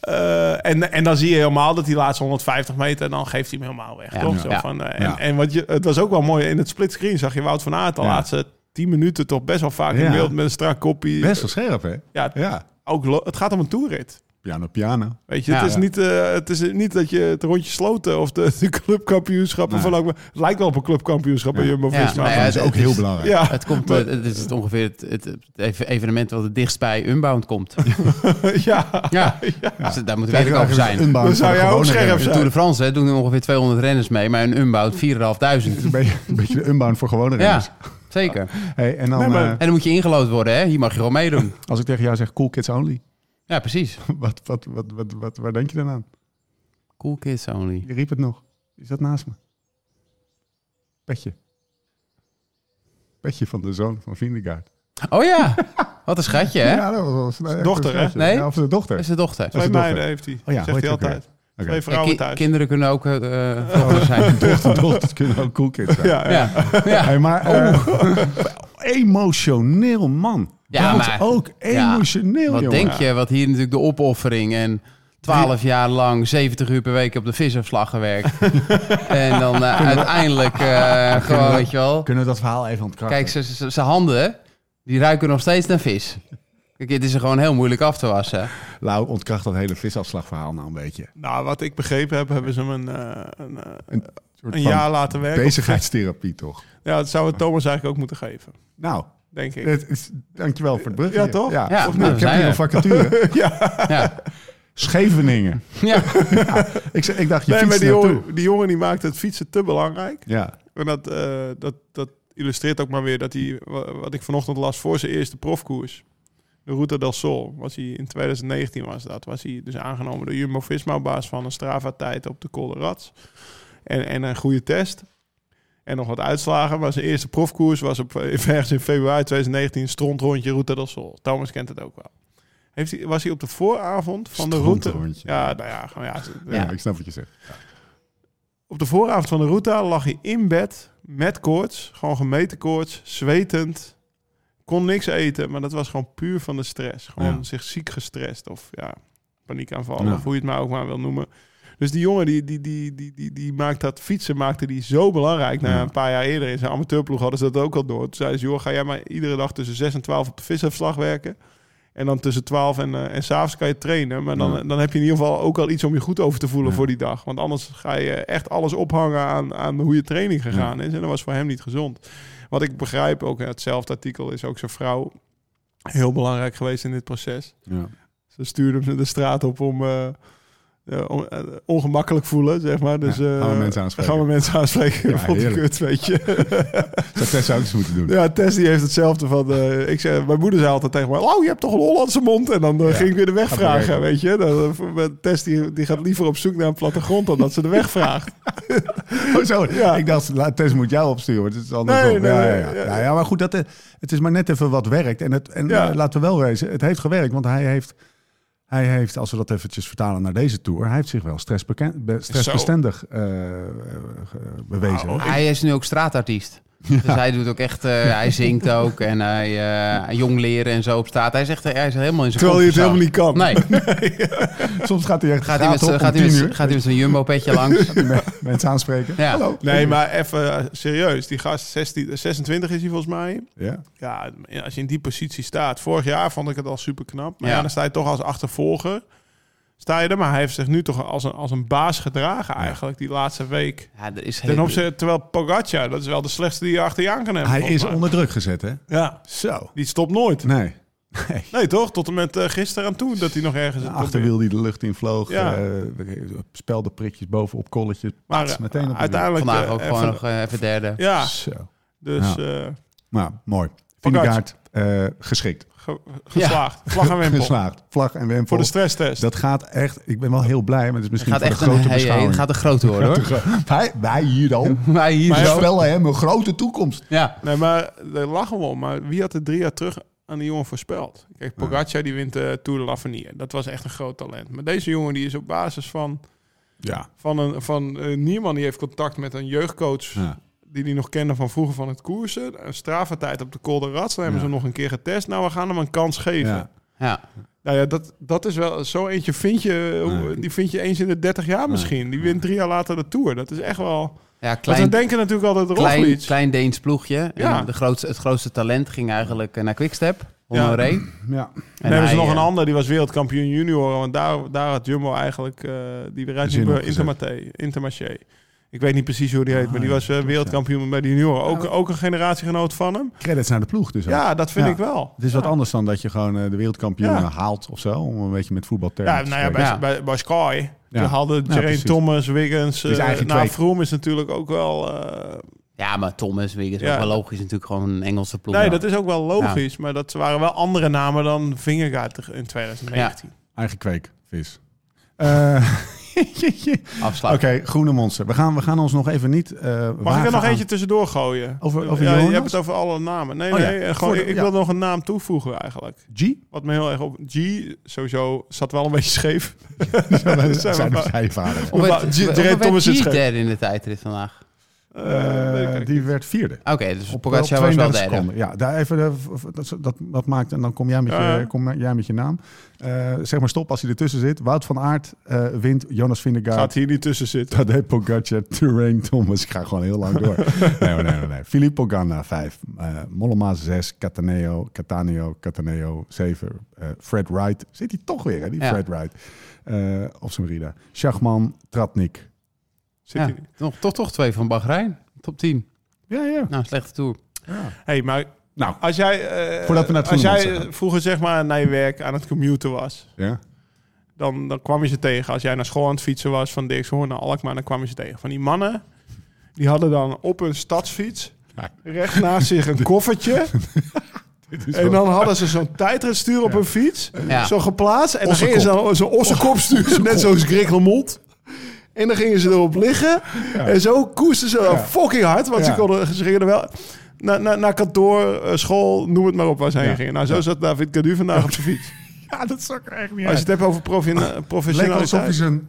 Speaker 4: eh, en, en dan zie je helemaal dat die laatste 150 meter, dan geeft hij hem helemaal weg.
Speaker 3: Ja.
Speaker 4: toch?
Speaker 3: Ja.
Speaker 4: Zo
Speaker 3: Ja.
Speaker 4: van, eh, en
Speaker 1: Ja.
Speaker 4: en wat je, het was ook wel mooi, in het splitscreen zag je Wout van Aert de
Speaker 1: Ja.
Speaker 4: laatste 10 minuten toch best wel vaak
Speaker 1: Ja.
Speaker 4: in beeld met een strak koppie.
Speaker 1: Best wel scherp, hè?
Speaker 4: Ja,
Speaker 1: Ja.
Speaker 4: ook, lo- het gaat om een toerit.
Speaker 1: Piano, piano.
Speaker 4: Weet je,
Speaker 3: Ja,
Speaker 4: het, is
Speaker 3: ja.
Speaker 4: niet, eh, het is niet dat je het rondje sloten of de, de clubkampioenschappen
Speaker 1: Nee.
Speaker 4: van ook maar- Het lijkt wel op een clubkampioenschap bij
Speaker 1: Ja.
Speaker 4: Jumbo-Visma.
Speaker 3: Ja,
Speaker 4: Ja,
Speaker 1: Dat
Speaker 3: het-
Speaker 1: is ook
Speaker 3: het
Speaker 1: heel
Speaker 3: is-
Speaker 1: belangrijk.
Speaker 4: ja,
Speaker 3: Het, komt, eh, het is het ongeveer het, het, het ev- evenement wat het dichtst bij Unbound komt.
Speaker 4: ja.
Speaker 3: Ja, Dus daar moeten we
Speaker 1: Kijk,
Speaker 3: eerlijk over zijn.
Speaker 1: een baan
Speaker 4: Dan
Speaker 1: voor
Speaker 4: zou
Speaker 1: de
Speaker 4: jij ook
Speaker 1: gewone
Speaker 4: scherp
Speaker 1: renners.
Speaker 3: De Tour de France hè, doen er ongeveer 200 renners mee, maar een Unbound 4.500.
Speaker 1: Een beetje, een beetje de unbound voor gewone renners.
Speaker 3: Ja, zeker.
Speaker 1: Hey, en dan,
Speaker 4: Nee, maar-
Speaker 1: eh,
Speaker 3: En dan moet je ingelood worden, hè? Hier mag je gewoon meedoen.
Speaker 1: als ik tegen jou zeg cool kids only,
Speaker 3: Ja, precies.
Speaker 1: wat, wat, wat, wat, wat, waar denk je dan aan?
Speaker 3: Cool kids only.
Speaker 1: Je riep het nog. Is dat naast me? Petje. Petje van de zoon van Vindegaard.
Speaker 3: Oh ja, wat een schatje, hè?
Speaker 1: Ja, dat was wel snel.
Speaker 4: Dochter, hè?
Speaker 1: Ja,
Speaker 3: Nee?
Speaker 1: of zijn dochter.
Speaker 3: Dat is de dochter.
Speaker 1: is
Speaker 4: Twee
Speaker 1: een
Speaker 4: meiden
Speaker 1: dochter.
Speaker 4: heeft hij,
Speaker 1: Oh ja, hoe
Speaker 4: zegt hij
Speaker 1: heet die ook
Speaker 4: altijd.
Speaker 1: Oké.
Speaker 4: Twee
Speaker 3: Ja,
Speaker 4: vrouwen
Speaker 3: ki-
Speaker 4: thuis.
Speaker 3: kinderen kunnen ook eh
Speaker 1: Oh.
Speaker 3: dochter zijn.
Speaker 1: Dochter, dochters kunnen ook cool kids zijn.
Speaker 4: Ja, ja.
Speaker 3: Ja, ja.
Speaker 1: Hey, maar eh, emotioneel man.
Speaker 3: Ja,
Speaker 1: Dat
Speaker 3: maar-
Speaker 1: ook emotioneel,
Speaker 3: Wat
Speaker 1: jongen.
Speaker 3: denk je, wat hier natuurlijk de opoffering en 12 jaar lang 70 uur per week op de visafslag gewerkt. en dan eh, uiteindelijk eh, gewoon, weet je wel.
Speaker 1: Kunnen we dat verhaal even ontkrachten?
Speaker 3: Kijk, zijn handen, die ruiken nog steeds naar vis. Kijk, het is er gewoon heel moeilijk af te wassen.
Speaker 1: Lau ontkracht dat hele visafslagverhaal nou een beetje. Een
Speaker 4: Nou, wat ik begrepen heb, hebben ze hem een, eh, een, eh,
Speaker 1: soort
Speaker 4: een
Speaker 1: van Oh.
Speaker 4: jaar laten werken.
Speaker 1: bezigheidstherapie, toch?
Speaker 4: Ja, dat zou het Thomas eigenlijk ook moeten geven,
Speaker 1: Nou,
Speaker 4: denk ik.
Speaker 1: het is, dankjewel voor het bruggetje.
Speaker 4: Ja, toch?
Speaker 1: Ja,
Speaker 3: Ja,
Speaker 1: of
Speaker 3: nou,
Speaker 1: niet?
Speaker 3: we
Speaker 1: Ik heb
Speaker 3: zijn
Speaker 1: hier een
Speaker 3: er.
Speaker 1: vacature.
Speaker 3: Ja,
Speaker 1: Scheveningen.
Speaker 3: Ja.
Speaker 1: Ik, zei- ik dacht, je
Speaker 4: nee, maar
Speaker 1: fietst naartoe.
Speaker 4: die jongen, die jongen die maakt het fietsen te belangrijk.
Speaker 1: Ja,
Speaker 4: En dat, eh, dat, dat illustreert ook maar weer dat hij, wa- wat ik vanochtend las voor zijn eerste profkoers, de Route del Sol, was hij in 2019 was dat, was hij dus aangenomen door Jumbo-Visma-baas van een Strava-tijd op de Col de Rats. En, en een goede test. En nog wat uitslagen, maar zijn eerste profkoers was op, eh, ergens in februari 2019 een strondrondje Route del Sol. Thomas kent het ook wel. Heeft hij, was hij op de vooravond van de route?
Speaker 1: Strondrondje.
Speaker 4: Ja, nou ja, gewoon ja,
Speaker 1: ja. ik snap wat je zegt.
Speaker 4: op de vooravond van de route lag hij in bed met koorts. Gewoon gemeten koorts, zwetend. Kon niks eten, maar dat was gewoon puur van de stress. Gewoon
Speaker 1: Ja.
Speaker 4: zich ziek gestrest of ja, paniekaanvallen
Speaker 1: Ja.
Speaker 4: of hoe je het maar ook maar wil noemen. Dus die jongen die, die, die, die, die, die maakt dat fietsen maakte die zo belangrijk. Na
Speaker 1: Ja.
Speaker 4: een paar jaar eerder in zijn amateurploeg hadden ze dat ook al door. Toen zeiden ze, joh, ga jij maar iedere dag tussen 6 en 12 op de visafslag werken. En dan tussen 12 en, eh, en s'avonds kan je trainen. Maar dan,
Speaker 1: Ja.
Speaker 4: dan heb je in ieder geval ook al iets om je goed over te voelen
Speaker 1: Ja.
Speaker 4: voor die dag. Want anders ga je echt alles ophangen aan, aan hoe je training gegaan is. En dat was voor hem niet gezond. Wat ik begrijp, ook in hetzelfde artikel, is ook zijn vrouw heel belangrijk geweest in dit proces.
Speaker 1: Ja.
Speaker 4: Ze stuurde hem de straat op om eh, eh, on- eh, ongemakkelijk voelen, zeg maar. Dus,
Speaker 1: Ja, gaan we
Speaker 4: eh,
Speaker 1: mensen aanspreken.
Speaker 4: Gaan we mensen aanspreken.
Speaker 1: Ja,
Speaker 4: Vond ik
Speaker 1: heerlijk.
Speaker 4: kut, weet je.
Speaker 1: Zou Tess ook eens moeten doen.
Speaker 4: Ja, Tess die heeft hetzelfde van... eh, ik zei, mijn moeder zei altijd tegen mij... Oh, je hebt toch een Hollandse mond? En dan eh, ging ik weer de weg
Speaker 1: Gaat
Speaker 4: vragen,
Speaker 1: werken.
Speaker 4: weet je. Dan, eh, met Tess die, die gaat liever op zoek naar een plattegrond... dan dat ze de weg vraagt.
Speaker 1: Oh, zo.
Speaker 4: Ja.
Speaker 1: Ik dacht, la- Tess moet jou opsturen. want Het is andersom.
Speaker 4: Nee, nee,
Speaker 1: ja, ja,
Speaker 4: nee,
Speaker 1: ja.
Speaker 4: ja,
Speaker 1: Ja, ja, maar goed, dat, eh, het is maar net even wat werkt. En, het, en
Speaker 4: Ja.
Speaker 1: eh, laten we wel wezen, het heeft gewerkt. Want hij heeft, hij heeft, als we dat eventjes vertalen naar deze tour... hij heeft zich wel stressbeken- be- stressbestendig eh, eh, ge- bewezen. hè?
Speaker 3: Hij is nu ook straatartiest. Dus hij doet ook echt, eh, hij zingt ook en hij eh, jong leren en zo op straat. Hij is echt, hij is helemaal in zijn
Speaker 4: Terwijl hij het
Speaker 3: comfortzone.
Speaker 4: helemaal niet kan.
Speaker 3: Nee,
Speaker 1: Soms gaat hij echt
Speaker 3: gaat hij met,
Speaker 1: op
Speaker 3: zijn- gaat
Speaker 1: om
Speaker 3: hij met,
Speaker 1: tien uur.
Speaker 3: zijn- gaat hij met zijn jumbo petje langs.
Speaker 1: Mensen aanspreken.
Speaker 3: Ja.
Speaker 1: Hallo.
Speaker 4: Nee, maar even eh, serieus. Die gast, 16, 26 is hij volgens mij.
Speaker 1: Ja.
Speaker 4: Ja, als je in die positie staat. Vorig jaar vond ik het al super knap. Maar ja.
Speaker 3: Ja.
Speaker 4: dan sta je toch als achtervolger. Sta je er, maar hij heeft zich nu toch als een, als een baas gedragen eigenlijk die laatste week.
Speaker 3: Ja, er is
Speaker 4: Ten
Speaker 3: heel-
Speaker 4: opzichte, terwijl Pogacar, dat is wel de slechtste die je achter je aan kan hebben.
Speaker 1: Hij
Speaker 4: volgens
Speaker 1: is
Speaker 4: mij.
Speaker 1: onder druk gezet, hè?
Speaker 4: Ja,
Speaker 1: Zo.
Speaker 4: die stopt nooit.
Speaker 1: Nee.
Speaker 4: Nee, toch? Tot en met eh, gisteren aan toe dat hij nog ergens... het probeert.
Speaker 1: Achterwiel die de lucht in vloog. eh,
Speaker 4: Ja.
Speaker 1: spelde prikjes bovenop kolletje.
Speaker 4: Maar
Speaker 1: Pats,
Speaker 4: eh,
Speaker 1: meteen op de
Speaker 4: uiteindelijk...
Speaker 3: vandaag
Speaker 4: eh,
Speaker 3: ook
Speaker 4: even-
Speaker 3: gewoon nog eh, even derde.
Speaker 4: Ja,
Speaker 1: Zo.
Speaker 4: dus
Speaker 1: Ja.
Speaker 4: eh,
Speaker 1: Nou, mooi.
Speaker 4: Vingegaard.
Speaker 1: Vingegaard, eh geschikt.
Speaker 4: ge- geslaagd. Vlag en wimpel.
Speaker 1: Geslaagd. Vlag en wimpel.
Speaker 4: Voor de stresstest.
Speaker 1: Dat gaat echt... Ik ben wel heel blij, maar het is
Speaker 3: Het
Speaker 1: misschien
Speaker 3: gaat
Speaker 1: voor
Speaker 3: echt
Speaker 1: de
Speaker 3: een,
Speaker 1: grote
Speaker 3: hey, hey,
Speaker 1: beschouwing.
Speaker 3: het gaat een grote worden hoor.
Speaker 1: wij, wij hier dan.
Speaker 3: Wij hier
Speaker 1: We
Speaker 4: Maar-
Speaker 3: zo.
Speaker 1: spellen hem een grote toekomst.
Speaker 3: Ja.
Speaker 4: Nee, maar daar lachen we om. Maar wie had het drie jaar terug aan die jongen voorspeld? Kijk, Pogacar die wint de Tour de L'Avenir. Dat was echt een groot talent. Maar deze jongen die is op basis van,
Speaker 1: Ja.
Speaker 4: van, een, van eh, Nierman... die heeft contact met een jeugdcoach...
Speaker 1: Ja.
Speaker 4: die hij nog kende van vroeger van het koersen. Een strafentijd op de Col de Rats. Dan hebben
Speaker 1: Ja.
Speaker 4: ze hem nog een keer getest. Nou, we gaan hem een kans geven.
Speaker 1: Ja.
Speaker 3: Ja.
Speaker 4: Nou ja, dat, dat is wel... Zo eentje vind je... eh, hoe-
Speaker 1: Nee.
Speaker 4: Die vind je eens in de 30 jaar misschien. Die wint drie jaar later de Tour. Dat is echt wel...
Speaker 3: ja,
Speaker 4: Want
Speaker 3: klein,
Speaker 4: we denken natuurlijk altijd
Speaker 3: klein,
Speaker 4: Roglic.
Speaker 3: klein Deens ploegje.
Speaker 4: Ja.
Speaker 3: En de grootste, het grootste talent ging eigenlijk eh, naar Quickstep, Honoré. En
Speaker 1: ja.
Speaker 4: En hebben ze
Speaker 3: hij,
Speaker 4: nog een
Speaker 3: eh,
Speaker 4: ander, die was wereldkampioen junioren. Want daar, daar had Jumbo eigenlijk... eh, die rijdt
Speaker 1: Zin
Speaker 4: nu bij
Speaker 1: opgezet.
Speaker 4: Intermarché. Intermarché. Ik weet niet precies hoe die heet,
Speaker 1: Ah,
Speaker 4: maar die was eh, wereldkampioen bij de junioren. Ook, ook een generatiegenoot van hem.
Speaker 1: Credits naar de ploeg dus. ook.
Speaker 4: Ja, dat vind
Speaker 1: Ja.
Speaker 4: ik wel.
Speaker 1: Het is wat anders dan dat je gewoon eh, de wereldkampioen
Speaker 4: Ja.
Speaker 1: haalt of zo. Om een beetje met voetbaltermen
Speaker 4: Ja,
Speaker 1: te
Speaker 4: nou ja, bij,
Speaker 1: spreken.
Speaker 3: Ja.
Speaker 4: Bij, bij Sky.
Speaker 1: Ja.
Speaker 4: Toen hadden
Speaker 1: Ja,
Speaker 4: Geraint
Speaker 1: precies.
Speaker 4: Thomas, Wiggins.
Speaker 1: Dus
Speaker 4: eh,
Speaker 1: eigenlijk
Speaker 4: nou,
Speaker 1: twee-
Speaker 4: Froome is natuurlijk ook wel... eh,
Speaker 3: Ja, maar Thomas Wiggins is
Speaker 4: Ja.
Speaker 3: ook wel logisch. Natuurlijk gewoon een Engelse ploeg.
Speaker 4: nee, dat is ook wel logisch. Maar dat waren wel andere namen dan Vingegaard in 2019.
Speaker 1: Eigen kweek, vis. Eh,
Speaker 3: Afslag.
Speaker 1: Oké, groene monster. We gaan, we gaan ons nog even niet... eh,
Speaker 4: Mag ik
Speaker 1: wagen
Speaker 4: er nog
Speaker 1: aan-
Speaker 4: eentje tussendoor gooien?
Speaker 1: Over- over
Speaker 4: ja, je
Speaker 1: Jonas?
Speaker 4: hebt het over alle namen. Nee,
Speaker 1: Oh ja,
Speaker 4: nee. eh, Gewoon,
Speaker 1: voor de-
Speaker 4: ik
Speaker 1: ja.
Speaker 4: wil nog een naam toevoegen eigenlijk.
Speaker 1: G?
Speaker 4: Wat me heel erg op... G, sowieso, zat wel een beetje scheef.
Speaker 1: Zijn we
Speaker 4: Zijn we-
Speaker 1: bij je vader.
Speaker 3: Of werd-
Speaker 4: Maar G-
Speaker 3: of werd
Speaker 4: Geraint Thomas
Speaker 3: G
Speaker 4: is ge-
Speaker 3: derde in de tijdrit vandaag.
Speaker 1: Eh,
Speaker 4: weet ik eigenlijk
Speaker 1: die werd vierde.
Speaker 3: Oké, dus Pogacar was wel
Speaker 1: 32
Speaker 3: derde.
Speaker 1: seconden. Ja, daar even, eh, v- v- dat, dat, dat maakt, en dan kom jij met,
Speaker 4: Ja,
Speaker 1: je,
Speaker 4: ja.
Speaker 1: kom jij met je naam. Eh, zeg maar stop als hij ertussen zit. Wout van Aert eh, wint, Jonas
Speaker 4: Gaat
Speaker 1: Vindegaard,
Speaker 4: hier niet tussen zitten.
Speaker 1: Tadej Pogacar, Terrain Thomas. Ik ga gewoon heel lang door. nee, nee, nee, nee. Filippo Ganna, vijf. Eh Mollema, zes. Cataneo, Cataneo, Cataneo, zeven. Eh, Fred Wright. Zit hij toch weer, hè? Die
Speaker 3: Ja.
Speaker 1: Fred Wright. Eh, of zijn Rida. Schachman, Tratnik.
Speaker 4: Zit
Speaker 3: Ja,
Speaker 4: hier niet.
Speaker 3: nog, toch, toch twee van Bahrein. Top 10.
Speaker 1: Ja, ja.
Speaker 3: Nou, slechte tour.
Speaker 4: hey, maar
Speaker 1: Nou,
Speaker 4: als jij, eh,
Speaker 1: Voordat we naar het
Speaker 4: als
Speaker 1: Groenland
Speaker 4: jij
Speaker 1: gaan.
Speaker 4: vroeger zeg maar naar je werk aan het commuten was...
Speaker 1: ja.
Speaker 4: dan, dan kwam je ze tegen. Als jij naar school aan het fietsen was van Dirkshoorn naar Alkmaar, dan kwam je ze tegen. Van die mannen, die hadden dan op hun stadsfiets
Speaker 1: Ja.
Speaker 4: recht naast zich een koffertje. En dan hadden ze zo'n tijdritstuur op hun fiets,
Speaker 3: Ja.
Speaker 4: zo geplaatst. En dan
Speaker 1: Ossekop.
Speaker 4: gingen ze dan zo'n ossekop sturen, net zoals Greg LeMond. En dan gingen ze erop liggen. En zo koesten ze dan fucking hard, want
Speaker 1: Ja.
Speaker 4: ze, konden, ze gingen er wel... Naar na, naar kantoor, eh, school, noem het maar op waar ze heen
Speaker 1: Ja.
Speaker 4: gingen. Nou, zo zat David Cadu vandaag op zijn fiets.
Speaker 1: Ja, dat zag ik er echt niet
Speaker 4: Als je
Speaker 1: uit.
Speaker 4: het hebt over profi-
Speaker 1: Het leek alsof hij
Speaker 4: professionaliteit.
Speaker 1: zijn...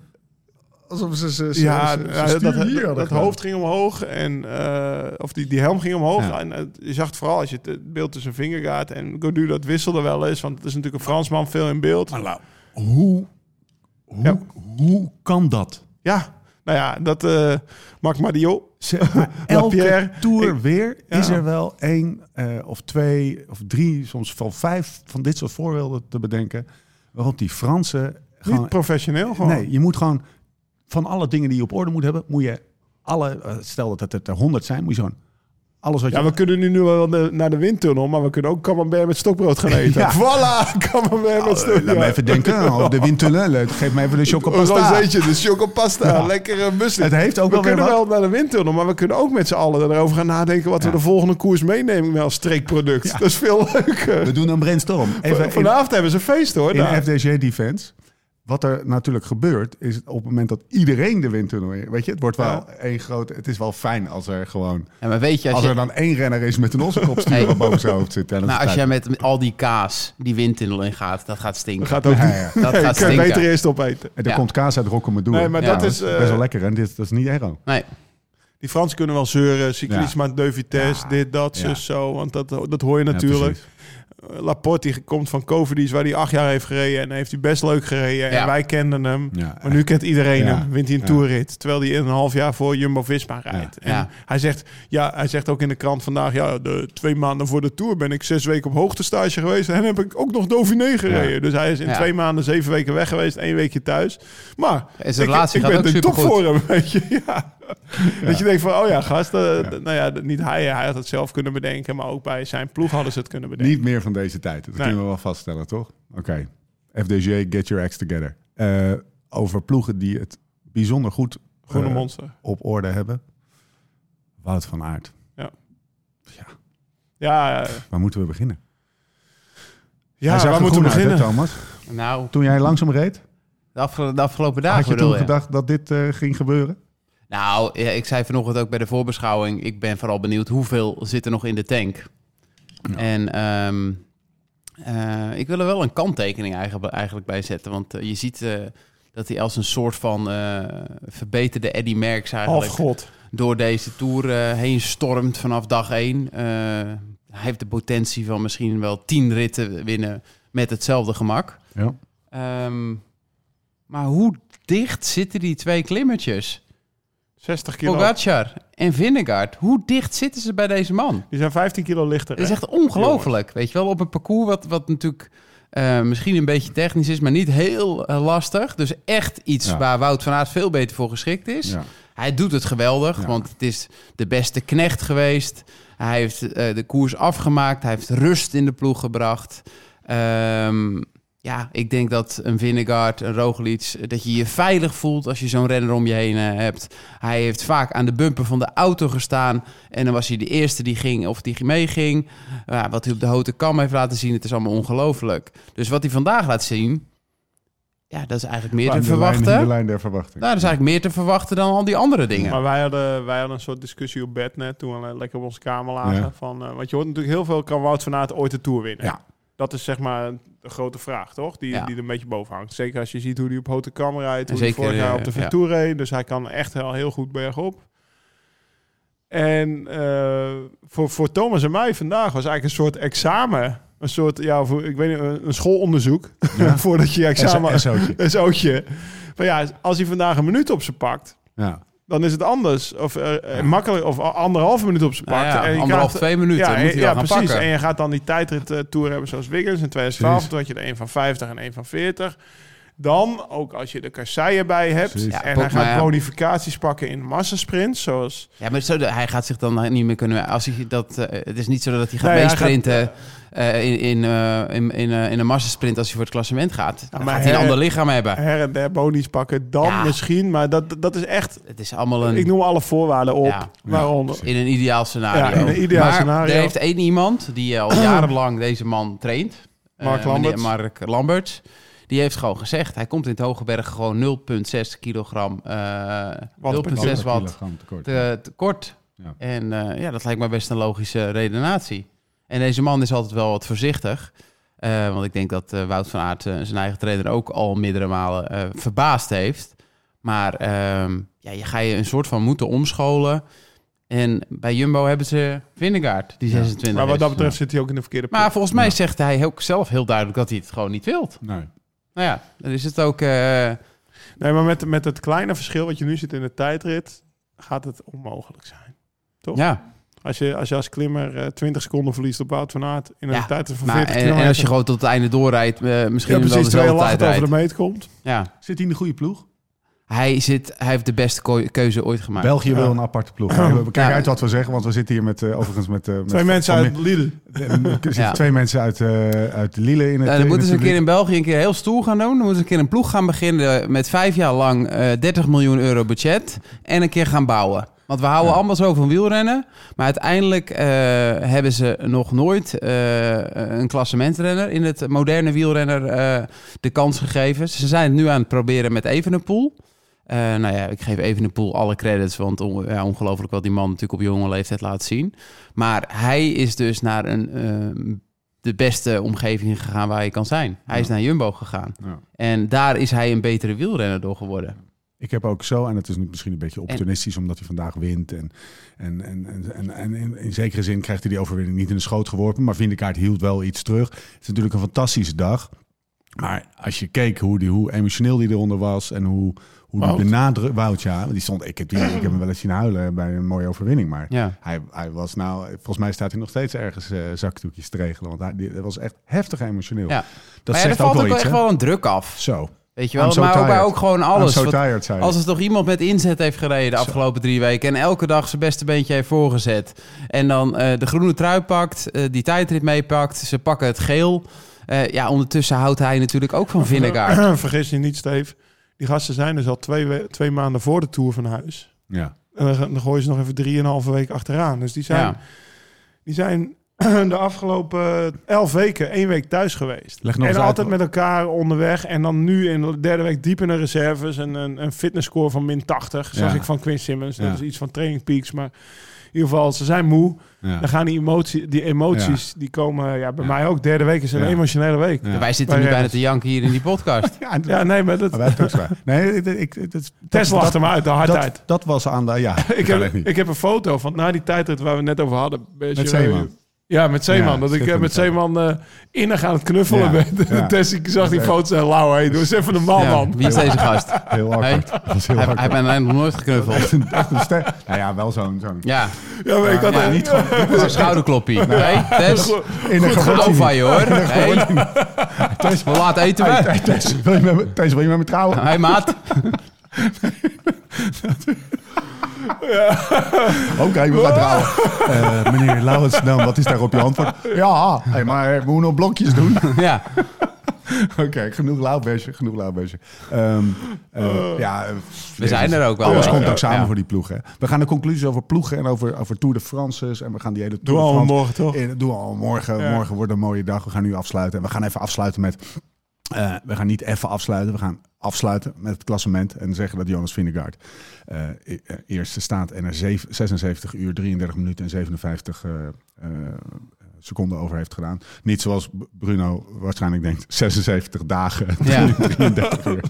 Speaker 1: Alsof ze zijn
Speaker 4: Ja, ja, dat, dat,
Speaker 1: hier
Speaker 4: dat
Speaker 1: hadden gedaan.
Speaker 4: hoofd ging omhoog en eh, of die, die helm ging omhoog.
Speaker 1: Ja.
Speaker 4: En, eh, je zag het vooral als je het- het beeld tussen vingergaat en Godu dat wisselde wel eens, want het is natuurlijk een Fransman veel in beeld.
Speaker 1: Maar Lau, hoe, hoe,
Speaker 4: Ja.
Speaker 1: hoe kan dat?
Speaker 4: Ja, nou ja, dat eh Marc Mario.
Speaker 1: Ze- maar elke
Speaker 4: Lapierre,
Speaker 1: tour weer
Speaker 4: ja.
Speaker 1: is er wel één eh, of twee of drie, soms wel vijf van dit soort voorbeelden te bedenken. Waarop die Fransen
Speaker 4: Niet
Speaker 1: gewoon...
Speaker 4: professioneel gewoon.
Speaker 1: Nee, je moet gewoon van alle dingen die je op orde moet hebben, moet je alle... eh, stel dat het er honderd zijn, moet je gewoon alles wat
Speaker 4: Ja,
Speaker 1: je...
Speaker 4: we kunnen nu, nu wel de- naar de windtunnel, maar we kunnen ook camembert met stokbrood gaan eten.
Speaker 1: Ja.
Speaker 4: Voilà, camembert met
Speaker 1: Eh,
Speaker 4: stokbrood.
Speaker 1: laat me even denken. Oh, de windtunnel. Geef me even de
Speaker 4: Een
Speaker 1: chocopasta.
Speaker 4: rozeetje, dus chocopasta, lekkere muesli.
Speaker 1: Het heeft ook
Speaker 4: we
Speaker 1: wel weer
Speaker 4: kunnen
Speaker 1: wat.
Speaker 4: wel naar de windtunnel, maar we kunnen ook met z'n allen erover gaan nadenken wat
Speaker 1: Ja.
Speaker 4: we de volgende koers meenemen als streekproduct. Dat is veel leuker.
Speaker 1: We doen een brainstorm. Even in,
Speaker 4: Vanavond hebben ze een feest hoor. Nou, daar.
Speaker 1: in FDG Defense. Wat er natuurlijk gebeurt, is op het moment dat iedereen de windtunnel in... Weet je, het wordt wel
Speaker 4: Ja.
Speaker 1: één grote... Het is wel fijn als er gewoon...
Speaker 3: Ja, maar weet je, als,
Speaker 1: Als
Speaker 3: je,
Speaker 1: er dan één renner is met een ossenkopstuur
Speaker 3: Hey.
Speaker 1: wat boven zijn hoofd zit. tijdens
Speaker 3: nou,
Speaker 1: de
Speaker 3: als jij
Speaker 1: tijd.
Speaker 3: met met al die kaas die windtunnel in gaat, dat gaat stinken.
Speaker 4: Dat gaat ook niet.
Speaker 1: ja.
Speaker 3: Dat
Speaker 4: Nee,
Speaker 3: gaat
Speaker 4: je kunt
Speaker 3: stinken.
Speaker 4: beter eerst opeten.
Speaker 1: En er
Speaker 3: Ja.
Speaker 1: komt kaas uit Rockemedoer.
Speaker 4: Nee, maar
Speaker 3: Ja,
Speaker 4: dat
Speaker 3: dat
Speaker 4: is... eh,
Speaker 1: Best wel lekker. En dit dat is niet Ero.
Speaker 3: Nee.
Speaker 4: Die Fransen kunnen wel zeuren. Cyclisme, de vitesse,
Speaker 1: Ja.
Speaker 4: dit, dat,
Speaker 1: Ja.
Speaker 4: zus, zo. Want dat, dat hoor je natuurlijk. Eh, Laporte die komt van Covidis, waar hij acht jaar heeft gereden. En heeft hij best leuk gereden. En
Speaker 3: Ja.
Speaker 4: wij kenden hem.
Speaker 1: Ja.
Speaker 4: Maar nu kent iedereen
Speaker 1: Ja.
Speaker 4: hem. Wint hij een
Speaker 1: Ja.
Speaker 4: toerrit. Terwijl hij in een half jaar voor Jumbo-Visma rijdt. En
Speaker 3: Ja.
Speaker 4: Hij, zegt, ja, hij zegt ook in de krant vandaag... Ja, de twee maanden voor de Tour ben ik zes weken op hoogtestage geweest. En heb ik ook nog Dauphiné gereden. Dus hij is in
Speaker 3: Ja.
Speaker 4: twee maanden zeven weken weg geweest. één weekje thuis. Maar
Speaker 3: En zijn relatie
Speaker 4: ik, ik
Speaker 3: gaat
Speaker 4: ben
Speaker 3: ook
Speaker 4: de top
Speaker 3: supergoed.
Speaker 4: voor hem, weet je. Ja. Dat je denkt van, oh ja, gast. eh, d- Nou ja, d- niet hij. Hij had het zelf kunnen bedenken. Maar ook bij zijn ploeg hadden ze het kunnen bedenken.
Speaker 1: Niet meer van deze tijd. Dat
Speaker 4: Nee.
Speaker 1: kunnen we wel vaststellen, toch? Oké. FDG, get your acts together. Eh, over ploegen die het bijzonder goed
Speaker 4: Groene
Speaker 1: eh,
Speaker 4: monster.
Speaker 1: op orde hebben. Wout van Aert.
Speaker 4: Ja, eh,
Speaker 1: Waar moeten we beginnen?
Speaker 4: ja
Speaker 1: Hij zag
Speaker 4: waar
Speaker 1: er
Speaker 4: moeten we
Speaker 1: groen uit, hè,
Speaker 4: beginnen?
Speaker 1: Thomas?
Speaker 3: Nou,
Speaker 1: Toen jij langzaam reed,
Speaker 3: de, afge- de afgelopen dagen
Speaker 1: had je
Speaker 3: bedoel
Speaker 1: toen
Speaker 3: je?
Speaker 1: gedacht dat dit eh, ging gebeuren?
Speaker 3: Nou, ja, ik zei vanochtend ook bij de voorbeschouwing... ik ben vooral benieuwd hoeveel zit er nog in de tank. En ehm, eh, ik wil er wel een kanttekening eigenlijk, eigenlijk bij zetten. Want eh, je ziet eh, dat hij als een soort van eh, verbeterde Eddy Merckx eigenlijk...
Speaker 4: Half god.
Speaker 3: door deze Tour eh, heen stormt vanaf dag één. Eh, hij heeft de potentie van misschien wel tien ritten winnen met hetzelfde gemak.
Speaker 1: Ja.
Speaker 3: Ehm, maar hoe dicht zitten die twee klimmetjes?
Speaker 4: 60 kilo.
Speaker 3: Pogacar en Vingegaard. Hoe dicht zitten ze bij deze man?
Speaker 4: Die zijn 15 kilo lichter.
Speaker 3: Het is
Speaker 4: hè?
Speaker 3: echt ongelooflijk. Weet je wel, op een parcours wat, wat natuurlijk eh, misschien een beetje technisch is, maar niet heel eh, lastig. Dus echt iets
Speaker 1: Ja.
Speaker 3: waar Wout van Aert veel beter voor geschikt is.
Speaker 1: Ja.
Speaker 3: Hij doet het geweldig,
Speaker 1: Ja.
Speaker 3: want het is de beste knecht geweest. Hij heeft eh, de koers afgemaakt. Hij heeft rust in de ploeg gebracht. Ehm, ja, ik denk dat een Vinnegaard, een Roglic... dat je je veilig voelt als je zo'n renner om je heen eh, hebt. Hij heeft vaak aan de bumper van de auto gestaan. En dan was hij de eerste die ging of die meeging. Ja, wat hij op de houten kam heeft laten zien, het is allemaal ongelooflijk. Dus wat hij vandaag laat zien... Ja, dat is eigenlijk meer
Speaker 1: Aan
Speaker 3: te
Speaker 1: de Lijn, in de
Speaker 3: verwachten.
Speaker 1: lijn der verwachting.
Speaker 3: Nou, dat is eigenlijk meer te verwachten dan al die andere dingen.
Speaker 4: Maar wij hadden, wij hadden een soort discussie op bed net, toen we lekker op onze kamer lagen.
Speaker 1: Ja.
Speaker 4: Van, eh, want je hoort natuurlijk heel veel, kan Wout van Aert ooit de Tour winnen?
Speaker 1: Ja.
Speaker 4: Dat is zeg maar de grote vraag, toch? Die,
Speaker 3: Ja.
Speaker 4: die er een beetje boven hangt. Zeker als je ziet hoe hij op houten kamer rijdt,
Speaker 3: En
Speaker 4: hoe hij
Speaker 3: zeker,
Speaker 4: vorig jaar
Speaker 3: eh,
Speaker 4: op de
Speaker 3: ja.
Speaker 4: Ventour reed. Dus hij kan echt wel heel goed bergop. En eh, voor, voor Thomas en mij vandaag was eigenlijk een soort examen. Een soort, ja, voor, ik weet niet, een een schoolonderzoek.
Speaker 1: Ja.
Speaker 4: Voordat je je examen...
Speaker 1: Een SO'tje.
Speaker 4: Een zootje. Maar ja, als hij vandaag een minuut op ze pakt
Speaker 1: Ja.
Speaker 4: dan is het anders. Of eh, eh, makkelijk, of a- anderhalve minuut op zijn
Speaker 3: Nou
Speaker 4: pak.
Speaker 3: ja, anderhalf, twee minuten
Speaker 4: ja,
Speaker 3: moet hij
Speaker 4: ja,
Speaker 3: wel gaan
Speaker 4: precies.
Speaker 3: pakken.
Speaker 4: En je gaat dan die tijdrit eh, tour hebben zoals Wiggins in 2012.
Speaker 1: Precies.
Speaker 4: Toen had je er een van 50 en een van 40. Dan, ook als je de kasseien bij hebt...
Speaker 1: Precies.
Speaker 3: Ja,
Speaker 4: en hij
Speaker 3: Pogba,
Speaker 4: gaat
Speaker 3: ja.
Speaker 4: bonificaties pakken in massasprints, zoals...
Speaker 3: Ja, maar zo, hij gaat zich dan niet meer kunnen... Als hij dat, eh, het is niet zo dat hij gaat
Speaker 4: Nee, hij
Speaker 3: meesprinten eh, in, in, eh, in, in, eh, in een massasprint als hij voor het klassement gaat. dan
Speaker 4: maar
Speaker 3: gaat hij een
Speaker 4: hij-
Speaker 3: ander lichaam hebben.
Speaker 4: her en der bonies pakken. Dan
Speaker 3: Ja.
Speaker 4: misschien, maar dat, dat is echt...
Speaker 3: Het is allemaal een...
Speaker 4: Ik noem alle voorwaarden op,
Speaker 3: Ja.
Speaker 4: waaronder...
Speaker 3: In een ideaal scenario.
Speaker 4: Ja, in een ideaal
Speaker 3: maar
Speaker 4: scenario.
Speaker 3: Er heeft één iemand die eh, al jarenlang deze man traint. Eh,
Speaker 4: Mark Lamberts.
Speaker 3: meneer Mark Lamberts. Die heeft gewoon gezegd, hij komt in het Hogeberg gewoon 0,6 kilogram, eh 0,6 watt
Speaker 1: Kilogram tekort.
Speaker 3: te, te kort.
Speaker 1: Ja.
Speaker 3: En eh, ja, dat lijkt me best een logische redenatie. En deze man is altijd wel wat voorzichtig. Eh, want ik denk dat eh, Wout van Aert eh, zijn eigen trainer ook al meerdere malen eh, verbaasd heeft. Maar ehm, ja, je ga je een soort van moeten omscholen. En bij Jumbo hebben ze Vindegaard, die 26
Speaker 4: Maar wat dat
Speaker 3: is.
Speaker 4: betreft zit hij ook in de verkeerde
Speaker 3: Maar
Speaker 4: plek.
Speaker 3: volgens mij
Speaker 1: Ja.
Speaker 3: zegt hij ook zelf heel duidelijk dat hij het gewoon niet wilt.
Speaker 1: Nee.
Speaker 3: Nou ja, dan is het ook... eh,
Speaker 4: Nee, maar met, met het kleine verschil wat je nu ziet in de tijdrit... gaat het onmogelijk zijn. Toch?
Speaker 3: ja,
Speaker 4: Als, je, als je als klimmer eh, 20 seconden verliest op Wout van Aert... in een
Speaker 3: Ja,
Speaker 4: tijdrit van
Speaker 3: maar,
Speaker 4: 40
Speaker 3: en,
Speaker 4: kilometer...
Speaker 3: en als je gewoon tot het einde doorrijdt, eh, misschien
Speaker 4: ja,
Speaker 3: wel
Speaker 4: precies
Speaker 3: dezelfde tijd
Speaker 4: 2,8 over
Speaker 3: rijdt.
Speaker 4: de meet komt.
Speaker 3: Ja.
Speaker 1: Zit hij in de goede ploeg?
Speaker 3: Hij, zit, hij heeft de beste keu- keuze ooit gemaakt.
Speaker 1: België wil
Speaker 4: Ja.
Speaker 1: een aparte ploeg. We kijken
Speaker 3: Ja.
Speaker 1: uit wat we zeggen, want we zitten hier met, eh, overigens met... eh, met-
Speaker 4: Twee mensen
Speaker 1: van-
Speaker 4: uit Lieden.
Speaker 1: Er zitten
Speaker 3: Ja.
Speaker 1: twee mensen uit, eh uit Lille in het... eh,
Speaker 3: Nou,
Speaker 1: in
Speaker 3: dan
Speaker 1: het
Speaker 3: moeten ze een keer
Speaker 1: publiek.
Speaker 3: in België een keer heel stoel gaan doen. Dan moeten ze een keer een ploeg gaan beginnen eh, met vijf jaar lang eh, 30 miljoen euro budget. En een keer gaan bouwen. Want we houden allemaal zo van wielrennen. Maar uiteindelijk eh, hebben ze nog nooit eh, een klassementrenner in het moderne wielrenner eh, de kans gegeven. Ze zijn het nu aan het proberen met Evenepoel. Eh nou ja, ik geef Evenepoel alle credits, want on- ja, ongelooflijk wat die man natuurlijk op jonge leeftijd laat zien. Maar hij is dus naar een, eh, de beste omgeving gegaan waar je kan zijn. Hij is naar Jumbo gegaan.
Speaker 1: Ja.
Speaker 3: En daar is hij een betere wielrenner door geworden.
Speaker 1: Ik heb ook zo, en het is nu misschien een beetje opportunistisch, omdat hij vandaag wint. En, en, en, en, en, en in, in zekere zin krijgt hij die overwinning niet in de schoot geworpen. Maar Vindekaart hield wel iets terug. Het is natuurlijk een fantastische dag. Maar als je keek hoe, die, hoe emotioneel die eronder was en hoe, hoe die
Speaker 4: Wout.
Speaker 1: benadrukt... Wout, ja. want Die stond, ik, heb die, ik heb hem wel eens zien huilen bij een mooie overwinning. Maar
Speaker 3: Ja.
Speaker 1: Hij, hij was nou, volgens mij staat hij nog steeds ergens eh, zakdoekjes te regelen. Want hij, die- dat was echt heftig emotioneel.
Speaker 3: Ja.
Speaker 1: Dat
Speaker 3: maar ja, er
Speaker 1: zegt
Speaker 3: valt
Speaker 1: ook
Speaker 3: ook
Speaker 1: wel
Speaker 3: wel
Speaker 1: iets,
Speaker 3: echt
Speaker 1: hè?
Speaker 3: wel een druk af.
Speaker 1: Zo.
Speaker 3: Weet je
Speaker 1: I'm
Speaker 3: wel,
Speaker 1: so
Speaker 3: maar ook, bij
Speaker 1: tired.
Speaker 3: ook gewoon
Speaker 1: I'm
Speaker 3: alles.
Speaker 1: so
Speaker 3: Wat-
Speaker 1: tired, zei hij.
Speaker 3: als er toch iemand met inzet heeft gereden de afgelopen drie weken... en elke dag zijn beste beentje heeft voorgezet... en dan eh, de groene trui pakt, eh, die tijdrit meepakt... ze pakken het geel. Eh, ja, ondertussen houdt hij natuurlijk ook van Vinnegaard.
Speaker 4: Vergis je niet, Steve. Die gasten zijn dus al twee, we- twee maanden voor de Tour van huis.
Speaker 1: Ja.
Speaker 4: En dan, dan gooien ze nog even drieënhalve week achteraan. Dus die zijn...
Speaker 3: Ja.
Speaker 4: Die zijn de afgelopen eh, elf weken één week thuis geweest.
Speaker 1: Leg nog
Speaker 4: En
Speaker 1: eens uit
Speaker 4: altijd
Speaker 1: wat-
Speaker 4: met elkaar onderweg. En dan nu in de derde week diep in de reserves. En een, een fitnessscore van min 80. Zag
Speaker 1: Ja.
Speaker 4: ik van Quinn Simmons. Dat
Speaker 1: Ja.
Speaker 4: is iets van Training Peaks. Maar in ieder geval, ze zijn moe.
Speaker 1: Ja.
Speaker 4: Dan gaan die, emotie, die emoties, die komen ja, bij
Speaker 1: Ja.
Speaker 4: mij ook. Derde week is een
Speaker 1: Ja.
Speaker 4: emotionele week.
Speaker 1: Ja.
Speaker 3: Wij zitten
Speaker 4: Wij
Speaker 3: nu bijna
Speaker 4: rennen.
Speaker 3: te janken hier in die podcast.
Speaker 1: Ja,
Speaker 4: Ja, nee, maar dat,
Speaker 1: Maar wij hebben het ook zwaar. Nee, ik, ik, ik- dat,
Speaker 4: Tess lacht
Speaker 1: dat-
Speaker 4: hem uit de hard
Speaker 1: dat,
Speaker 4: uit.
Speaker 1: dat was aan de... Ja,
Speaker 4: Ik
Speaker 1: kan echt
Speaker 4: heb,
Speaker 1: niet.
Speaker 4: ik heb een foto van na die tijdrit waar we net over hadden.
Speaker 1: Met Zeeman.
Speaker 4: Ja, met Zeeman.
Speaker 1: Ja,
Speaker 4: dat ik eh,
Speaker 1: schitterend
Speaker 4: met Zeeman eh innig aan het knuffelen
Speaker 1: Ja,
Speaker 4: ben.
Speaker 1: ja.
Speaker 4: Tess, ik zag die
Speaker 1: echt-
Speaker 4: foto en lauw. Hey, doe eens even normaal,
Speaker 3: Ja,
Speaker 4: Oh, man.
Speaker 3: wie is deze gast?
Speaker 1: Heel awkward. Dat was heel
Speaker 3: Hij, hij heeft
Speaker 1: awkward.
Speaker 3: mij eigenlijk nog nooit geknuffeld.
Speaker 1: Echt een- echt een ster. Nou ja, wel zo'n... zo'n
Speaker 3: Ja,
Speaker 4: Ja, maar ik had
Speaker 3: ja,
Speaker 4: echt-
Speaker 3: niet gewoon een schouderkloppie. Nee, Tess,
Speaker 1: in een
Speaker 3: geloof
Speaker 1: gewoonte.
Speaker 3: van je hoor. Hey,
Speaker 1: Tess,
Speaker 3: hoe laat eten
Speaker 1: hey,
Speaker 3: we?
Speaker 1: hey, Tess, wil je met me- Tess, wil je met me trouwen?
Speaker 3: Hey maat.
Speaker 1: Oké, we gaan trouwen. Eh, meneer Lauwensdam, wat is daar op je antwoord? Ja, hey, maar we moeten nog blokjes doen.
Speaker 3: Ja,
Speaker 1: Oké, genoeg lauwbeestje, genoeg lauwbeestje. Ehm, eh, ja, eh,
Speaker 3: we zijn er ook wel.
Speaker 1: Alles
Speaker 3: hè?
Speaker 1: komt ook samen
Speaker 3: Ja.
Speaker 1: voor die ploeg. Hè. We gaan de conclusies over ploegen en over, over Tour de France's. En we gaan die hele Tour de
Speaker 4: allemaal
Speaker 1: France-
Speaker 4: morgen, toch?
Speaker 1: Eh, doen we allemaal morgen.
Speaker 4: Ja.
Speaker 1: Morgen wordt een mooie dag. We gaan nu afsluiten. En we gaan even afsluiten met... eh, we gaan niet even afsluiten. We gaan afsluiten met het klassement. En zeggen dat Jonas Vingegaard eh, e- eh, eerste staat. En er zeven- 76 uur, 33 minuten en 57 eh, eh, seconden over heeft gedaan. Niet zoals B- Bruno waarschijnlijk denkt. 76 dagen,
Speaker 3: Ja.
Speaker 1: 33 uur.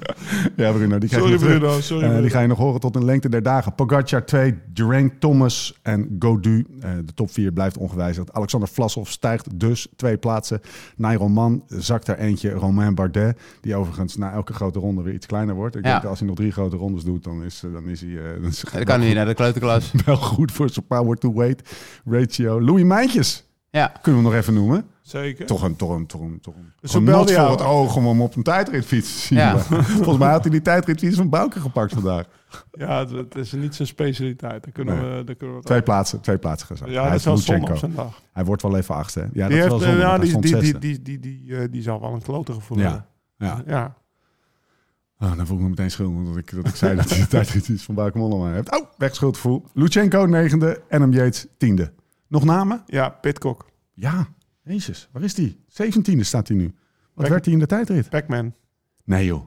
Speaker 1: Ja, Bruno, die krijg je
Speaker 4: Sorry,
Speaker 1: nog terug.
Speaker 4: Bruno. Sorry,
Speaker 1: Eh, die
Speaker 4: Bruno.
Speaker 1: ga je nog horen tot een lengte der dagen. Pogacar 2, Geraint Thomas en Godu. Eh, de top 4 blijft ongewijzigd. Alexander Vlasov stijgt dus twee plaatsen. Nairo Man zakt er eentje. Romain Bardet, die overigens na elke grote ronde weer iets kleiner wordt. Ik
Speaker 3: Ja.
Speaker 1: denk dat als hij nog drie grote rondes doet, dan is, eh, dan is hij... eh, dan is hij
Speaker 3: Dat kan niet naar de kleuterklas.
Speaker 1: Wel goed voor zijn power-to-weight ratio. Louis Mijntjes
Speaker 3: Ja,
Speaker 1: kunnen we hem nog even noemen.
Speaker 4: Zeker.
Speaker 1: Toch een, toch een, toch een, toch een,
Speaker 4: Dus
Speaker 1: toch een
Speaker 4: hoe
Speaker 1: not
Speaker 4: belde
Speaker 1: voor
Speaker 4: jou?
Speaker 1: het oog om hem op een tijdritfiets te zien.
Speaker 3: Ja.
Speaker 1: Maar Volgens mij had hij die tijdritfiets van Bouke gepakt vandaag.
Speaker 4: Ja, dat- dat is niet zijn specialiteit. Daar kunnen,
Speaker 1: Nee.
Speaker 4: we, daar kunnen we wat
Speaker 1: Twee
Speaker 4: aan.
Speaker 1: plaatsen, twee plaatsen gezakt.
Speaker 4: Ja,
Speaker 1: hij
Speaker 4: dat
Speaker 1: is
Speaker 4: is wel zonde
Speaker 1: Lutsenko.
Speaker 4: op zijn dag.
Speaker 1: Hij wordt wel even achtste. hè? Ja,
Speaker 4: die,
Speaker 1: dat is wel
Speaker 4: heeft,
Speaker 1: zonde,
Speaker 4: eh,
Speaker 1: want
Speaker 4: nou,
Speaker 1: hij
Speaker 4: die,
Speaker 1: stond
Speaker 4: die, die,
Speaker 1: zesde.
Speaker 4: die, die, die, eh, die zal wel een klote gevoel
Speaker 1: Ja.
Speaker 4: hebben.
Speaker 1: Ja.
Speaker 4: ja.
Speaker 1: Ah, dan voel ik me meteen schuldig omdat ik, dat ik zei dat hij de tijdritfiets van Bouke Mollema heeft. Oh, weg schuldgevoel. Lutsenko negende, Adam Yates tiende. Nog namen?
Speaker 4: Ja, Pitcock.
Speaker 1: Ja. Jezus, waar is die? Zeventiende staat hij nu. Wat
Speaker 4: Kijk.
Speaker 1: werd hij in de tijdrit?
Speaker 4: Pac-Man.
Speaker 1: Nee joh.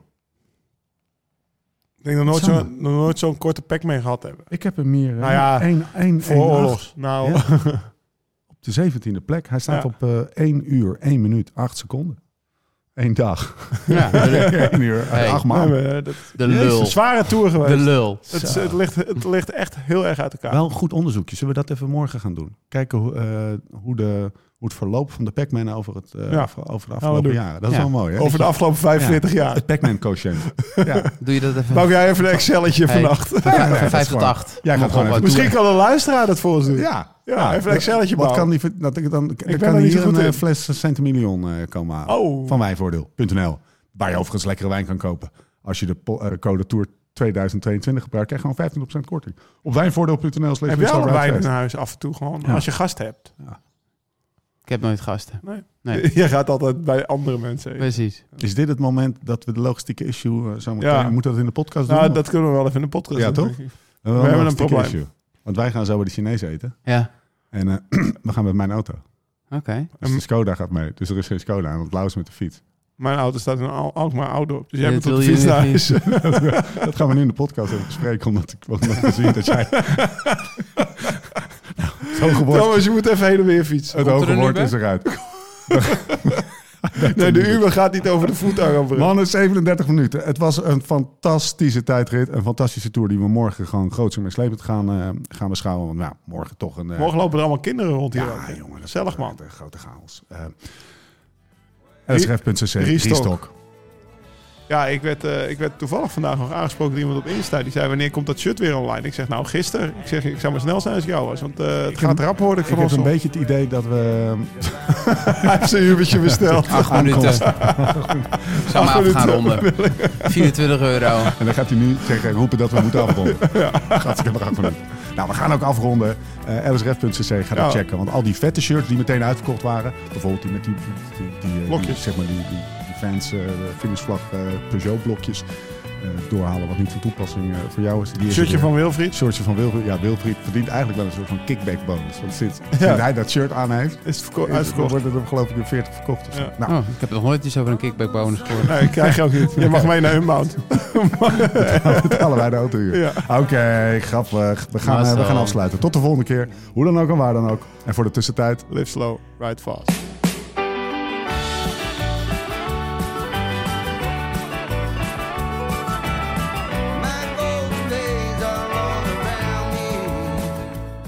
Speaker 4: Ik denk nog nooit,
Speaker 1: Samen.
Speaker 4: zo, nog nooit zo'n korte Pac-Man gehad hebben.
Speaker 1: Ik heb hem hier.
Speaker 4: Nou ja,
Speaker 1: één, één,
Speaker 4: Voor
Speaker 1: één acht.
Speaker 4: oorlogs. Nou,
Speaker 1: Ja. Op de 17e plek. Hij staat
Speaker 4: Ja.
Speaker 1: op eh 1 uur, 1 minuut, 8 seconden. Eén dag.
Speaker 3: Ja,
Speaker 1: 1 uur,
Speaker 3: Hey.
Speaker 1: 8 maanden.
Speaker 4: nee, maar dat is
Speaker 3: de
Speaker 4: een
Speaker 3: lul.
Speaker 4: zware tour
Speaker 3: De
Speaker 4: geweest.
Speaker 3: lul.
Speaker 4: Het, is- het, ligt, het ligt echt heel erg uit elkaar.
Speaker 1: Wel een goed onderzoekje. Zullen we dat even morgen gaan doen? Kijken hoe, eh, hoe, de, hoe het verloop van de Pac-Man over, het, eh,
Speaker 4: Ja. Nou,
Speaker 1: af- over de afgelopen
Speaker 4: doen.
Speaker 1: jaren. Dat is
Speaker 3: Ja.
Speaker 1: wel mooi, hè?
Speaker 4: Over de afgelopen 45 jaar.
Speaker 1: Het Pac-Man quotient. ja.
Speaker 3: Doe je dat even?
Speaker 4: Bouw jij even een Excelletje
Speaker 3: Hey.
Speaker 4: vannacht.
Speaker 3: Van
Speaker 1: Ja, nee, dat
Speaker 3: van
Speaker 1: is
Speaker 3: 5 tot
Speaker 1: waar.
Speaker 3: 8.
Speaker 1: Jij gaat gewoon even-
Speaker 4: Misschien kan een luisteraar dat voor ons doen.
Speaker 1: ja.
Speaker 4: Ja, even een Excelletje
Speaker 1: Wat
Speaker 4: bouwen.
Speaker 1: kan die, ver- dat ik dan, ik
Speaker 4: ben
Speaker 1: kan
Speaker 4: er niet zo
Speaker 1: hier een
Speaker 4: goed
Speaker 1: eh,
Speaker 4: in.
Speaker 1: fles centimillion eh, komen halen.
Speaker 4: Oh.
Speaker 1: Van wijnvoordeel.nl. Waar je overigens lekkere wijn kan kopen. Als je de po- eh, code Tour 2022 gebruikt, krijg je gewoon 15% korting. Op wijnvoordeel.nl slash
Speaker 4: Heb jij al een
Speaker 1: Whistleraround
Speaker 4: wijn in
Speaker 1: Fest.
Speaker 4: huis af en toe gewoon?
Speaker 1: Ja.
Speaker 4: Als je gast hebt.
Speaker 3: Ik heb nooit gasten.
Speaker 4: Nee.
Speaker 3: Nee.
Speaker 4: Je gaat altijd bij andere mensen eten.
Speaker 3: Precies.
Speaker 1: Is dit het moment dat we de logistieke issue eh, zo meteen...
Speaker 4: Ja.
Speaker 1: Moet dat in de podcast doen?
Speaker 4: Nou, dat kunnen we wel even in de podcast
Speaker 1: Ja,
Speaker 4: doen,
Speaker 1: toch?
Speaker 4: denk ik.
Speaker 1: we hebben,
Speaker 4: hebben
Speaker 1: een
Speaker 4: een
Speaker 1: logistieke
Speaker 4: probleem.
Speaker 1: issue. Want wij gaan zo bij de Chinezen eten.
Speaker 3: Ja,
Speaker 1: En eh, we gaan met mijn auto.
Speaker 3: oké.
Speaker 1: Dus de Skoda gaat mee. Dus er is geen Skoda. En dat Laus met de fiets.
Speaker 4: Mijn auto staat in Al- Alkmaar Ouddorp. Dus jij
Speaker 3: Ja,
Speaker 4: moet
Speaker 3: dat
Speaker 4: op de
Speaker 3: wil
Speaker 4: fiets
Speaker 3: je
Speaker 4: naar
Speaker 3: niet.
Speaker 4: huis.
Speaker 1: Dat gaan we nu in de podcast even bespreken. Omdat ik want omdat ik zie dat jij... nou, zo geworden.
Speaker 4: Thomas, je moet even heen en weer fietsen.
Speaker 1: Het
Speaker 3: Komt er
Speaker 1: hoge
Speaker 3: een
Speaker 1: woord
Speaker 3: Uber?
Speaker 1: is eruit.
Speaker 4: Nee, de Uber gaat niet over de voetgangoverbrug.
Speaker 1: Mannen, 37 minuten. Het was een fantastische tijdrit. Een fantastische tour die we morgen gewoon groots en meeslepend gaan, eh, gaan beschouwen. Want nou, morgen toch een... eh,
Speaker 4: Morgen lopen er allemaal kinderen rond hier.
Speaker 1: ja,
Speaker 4: ook.
Speaker 1: jongen. dat
Speaker 4: Gezellig,
Speaker 1: wordt, eh,
Speaker 4: man.
Speaker 1: de grote chaos. Eh LSRF.cc,
Speaker 4: Riestok.
Speaker 1: Riestok.
Speaker 4: Ja, ik werd, eh, ik werd toevallig vandaag nog aangesproken door iemand op Insta. Die zei, wanneer komt dat shirt weer online? Ik zeg, nou, gisteren. Ik zeg, ik zou maar snel zijn als ik jou was. Want eh, het gaat rap, hoor ik
Speaker 1: Ik
Speaker 4: van
Speaker 1: heb
Speaker 4: ons.
Speaker 1: een
Speaker 4: op.
Speaker 1: beetje het idee dat we...
Speaker 4: Hij heeft zijn Ubertje besteld.
Speaker 3: 8 minuten. Zou maar af gaan ronden. 24 euro.
Speaker 1: En dan gaat hij nu zeggen, roepen dat we moeten afronden. Gaat ik er van Nou, we gaan ook afronden. Eh lsref.cc, ga dat
Speaker 4: Ja.
Speaker 1: checken. Want al die vette shirts die meteen uitverkocht waren. Bijvoorbeeld die met die, die, die, eh,
Speaker 4: Blokjes.
Speaker 1: die, zeg maar die, die, die fans, eh, finishvlag eh, Peugeot blokjes. eh, doorhalen wat niet van toepassing eh, voor jou is. Die is
Speaker 4: Shirtje
Speaker 1: er weer.
Speaker 4: van Wilfried.
Speaker 1: Shirtje van Wilfried. Ja, Wilfried verdient eigenlijk wel een soort van kickback bonus. Want sinds, sinds hij dat shirt aan heeft,
Speaker 4: Is het verko-
Speaker 1: is-
Speaker 4: uitverkocht?
Speaker 1: worden er geloof ik weer 40 verkocht. Of zo.
Speaker 4: Ja.
Speaker 1: Nou,
Speaker 3: Oh, ik heb nog nooit iets over een kickback bonus gehoord.
Speaker 4: Nee, ik krijg je ook niet. Je mag mee naar Unbound.
Speaker 1: betalen wij de autohuur.
Speaker 4: Ja.
Speaker 1: Oké, grappig. We gaan,
Speaker 3: Maar
Speaker 1: eh, we
Speaker 3: zo.
Speaker 1: gaan afsluiten. Tot de volgende keer. Hoe dan ook en waar dan ook. En voor de tussentijd,
Speaker 4: Live slow, ride fast.
Speaker 2: My golden days are all around me.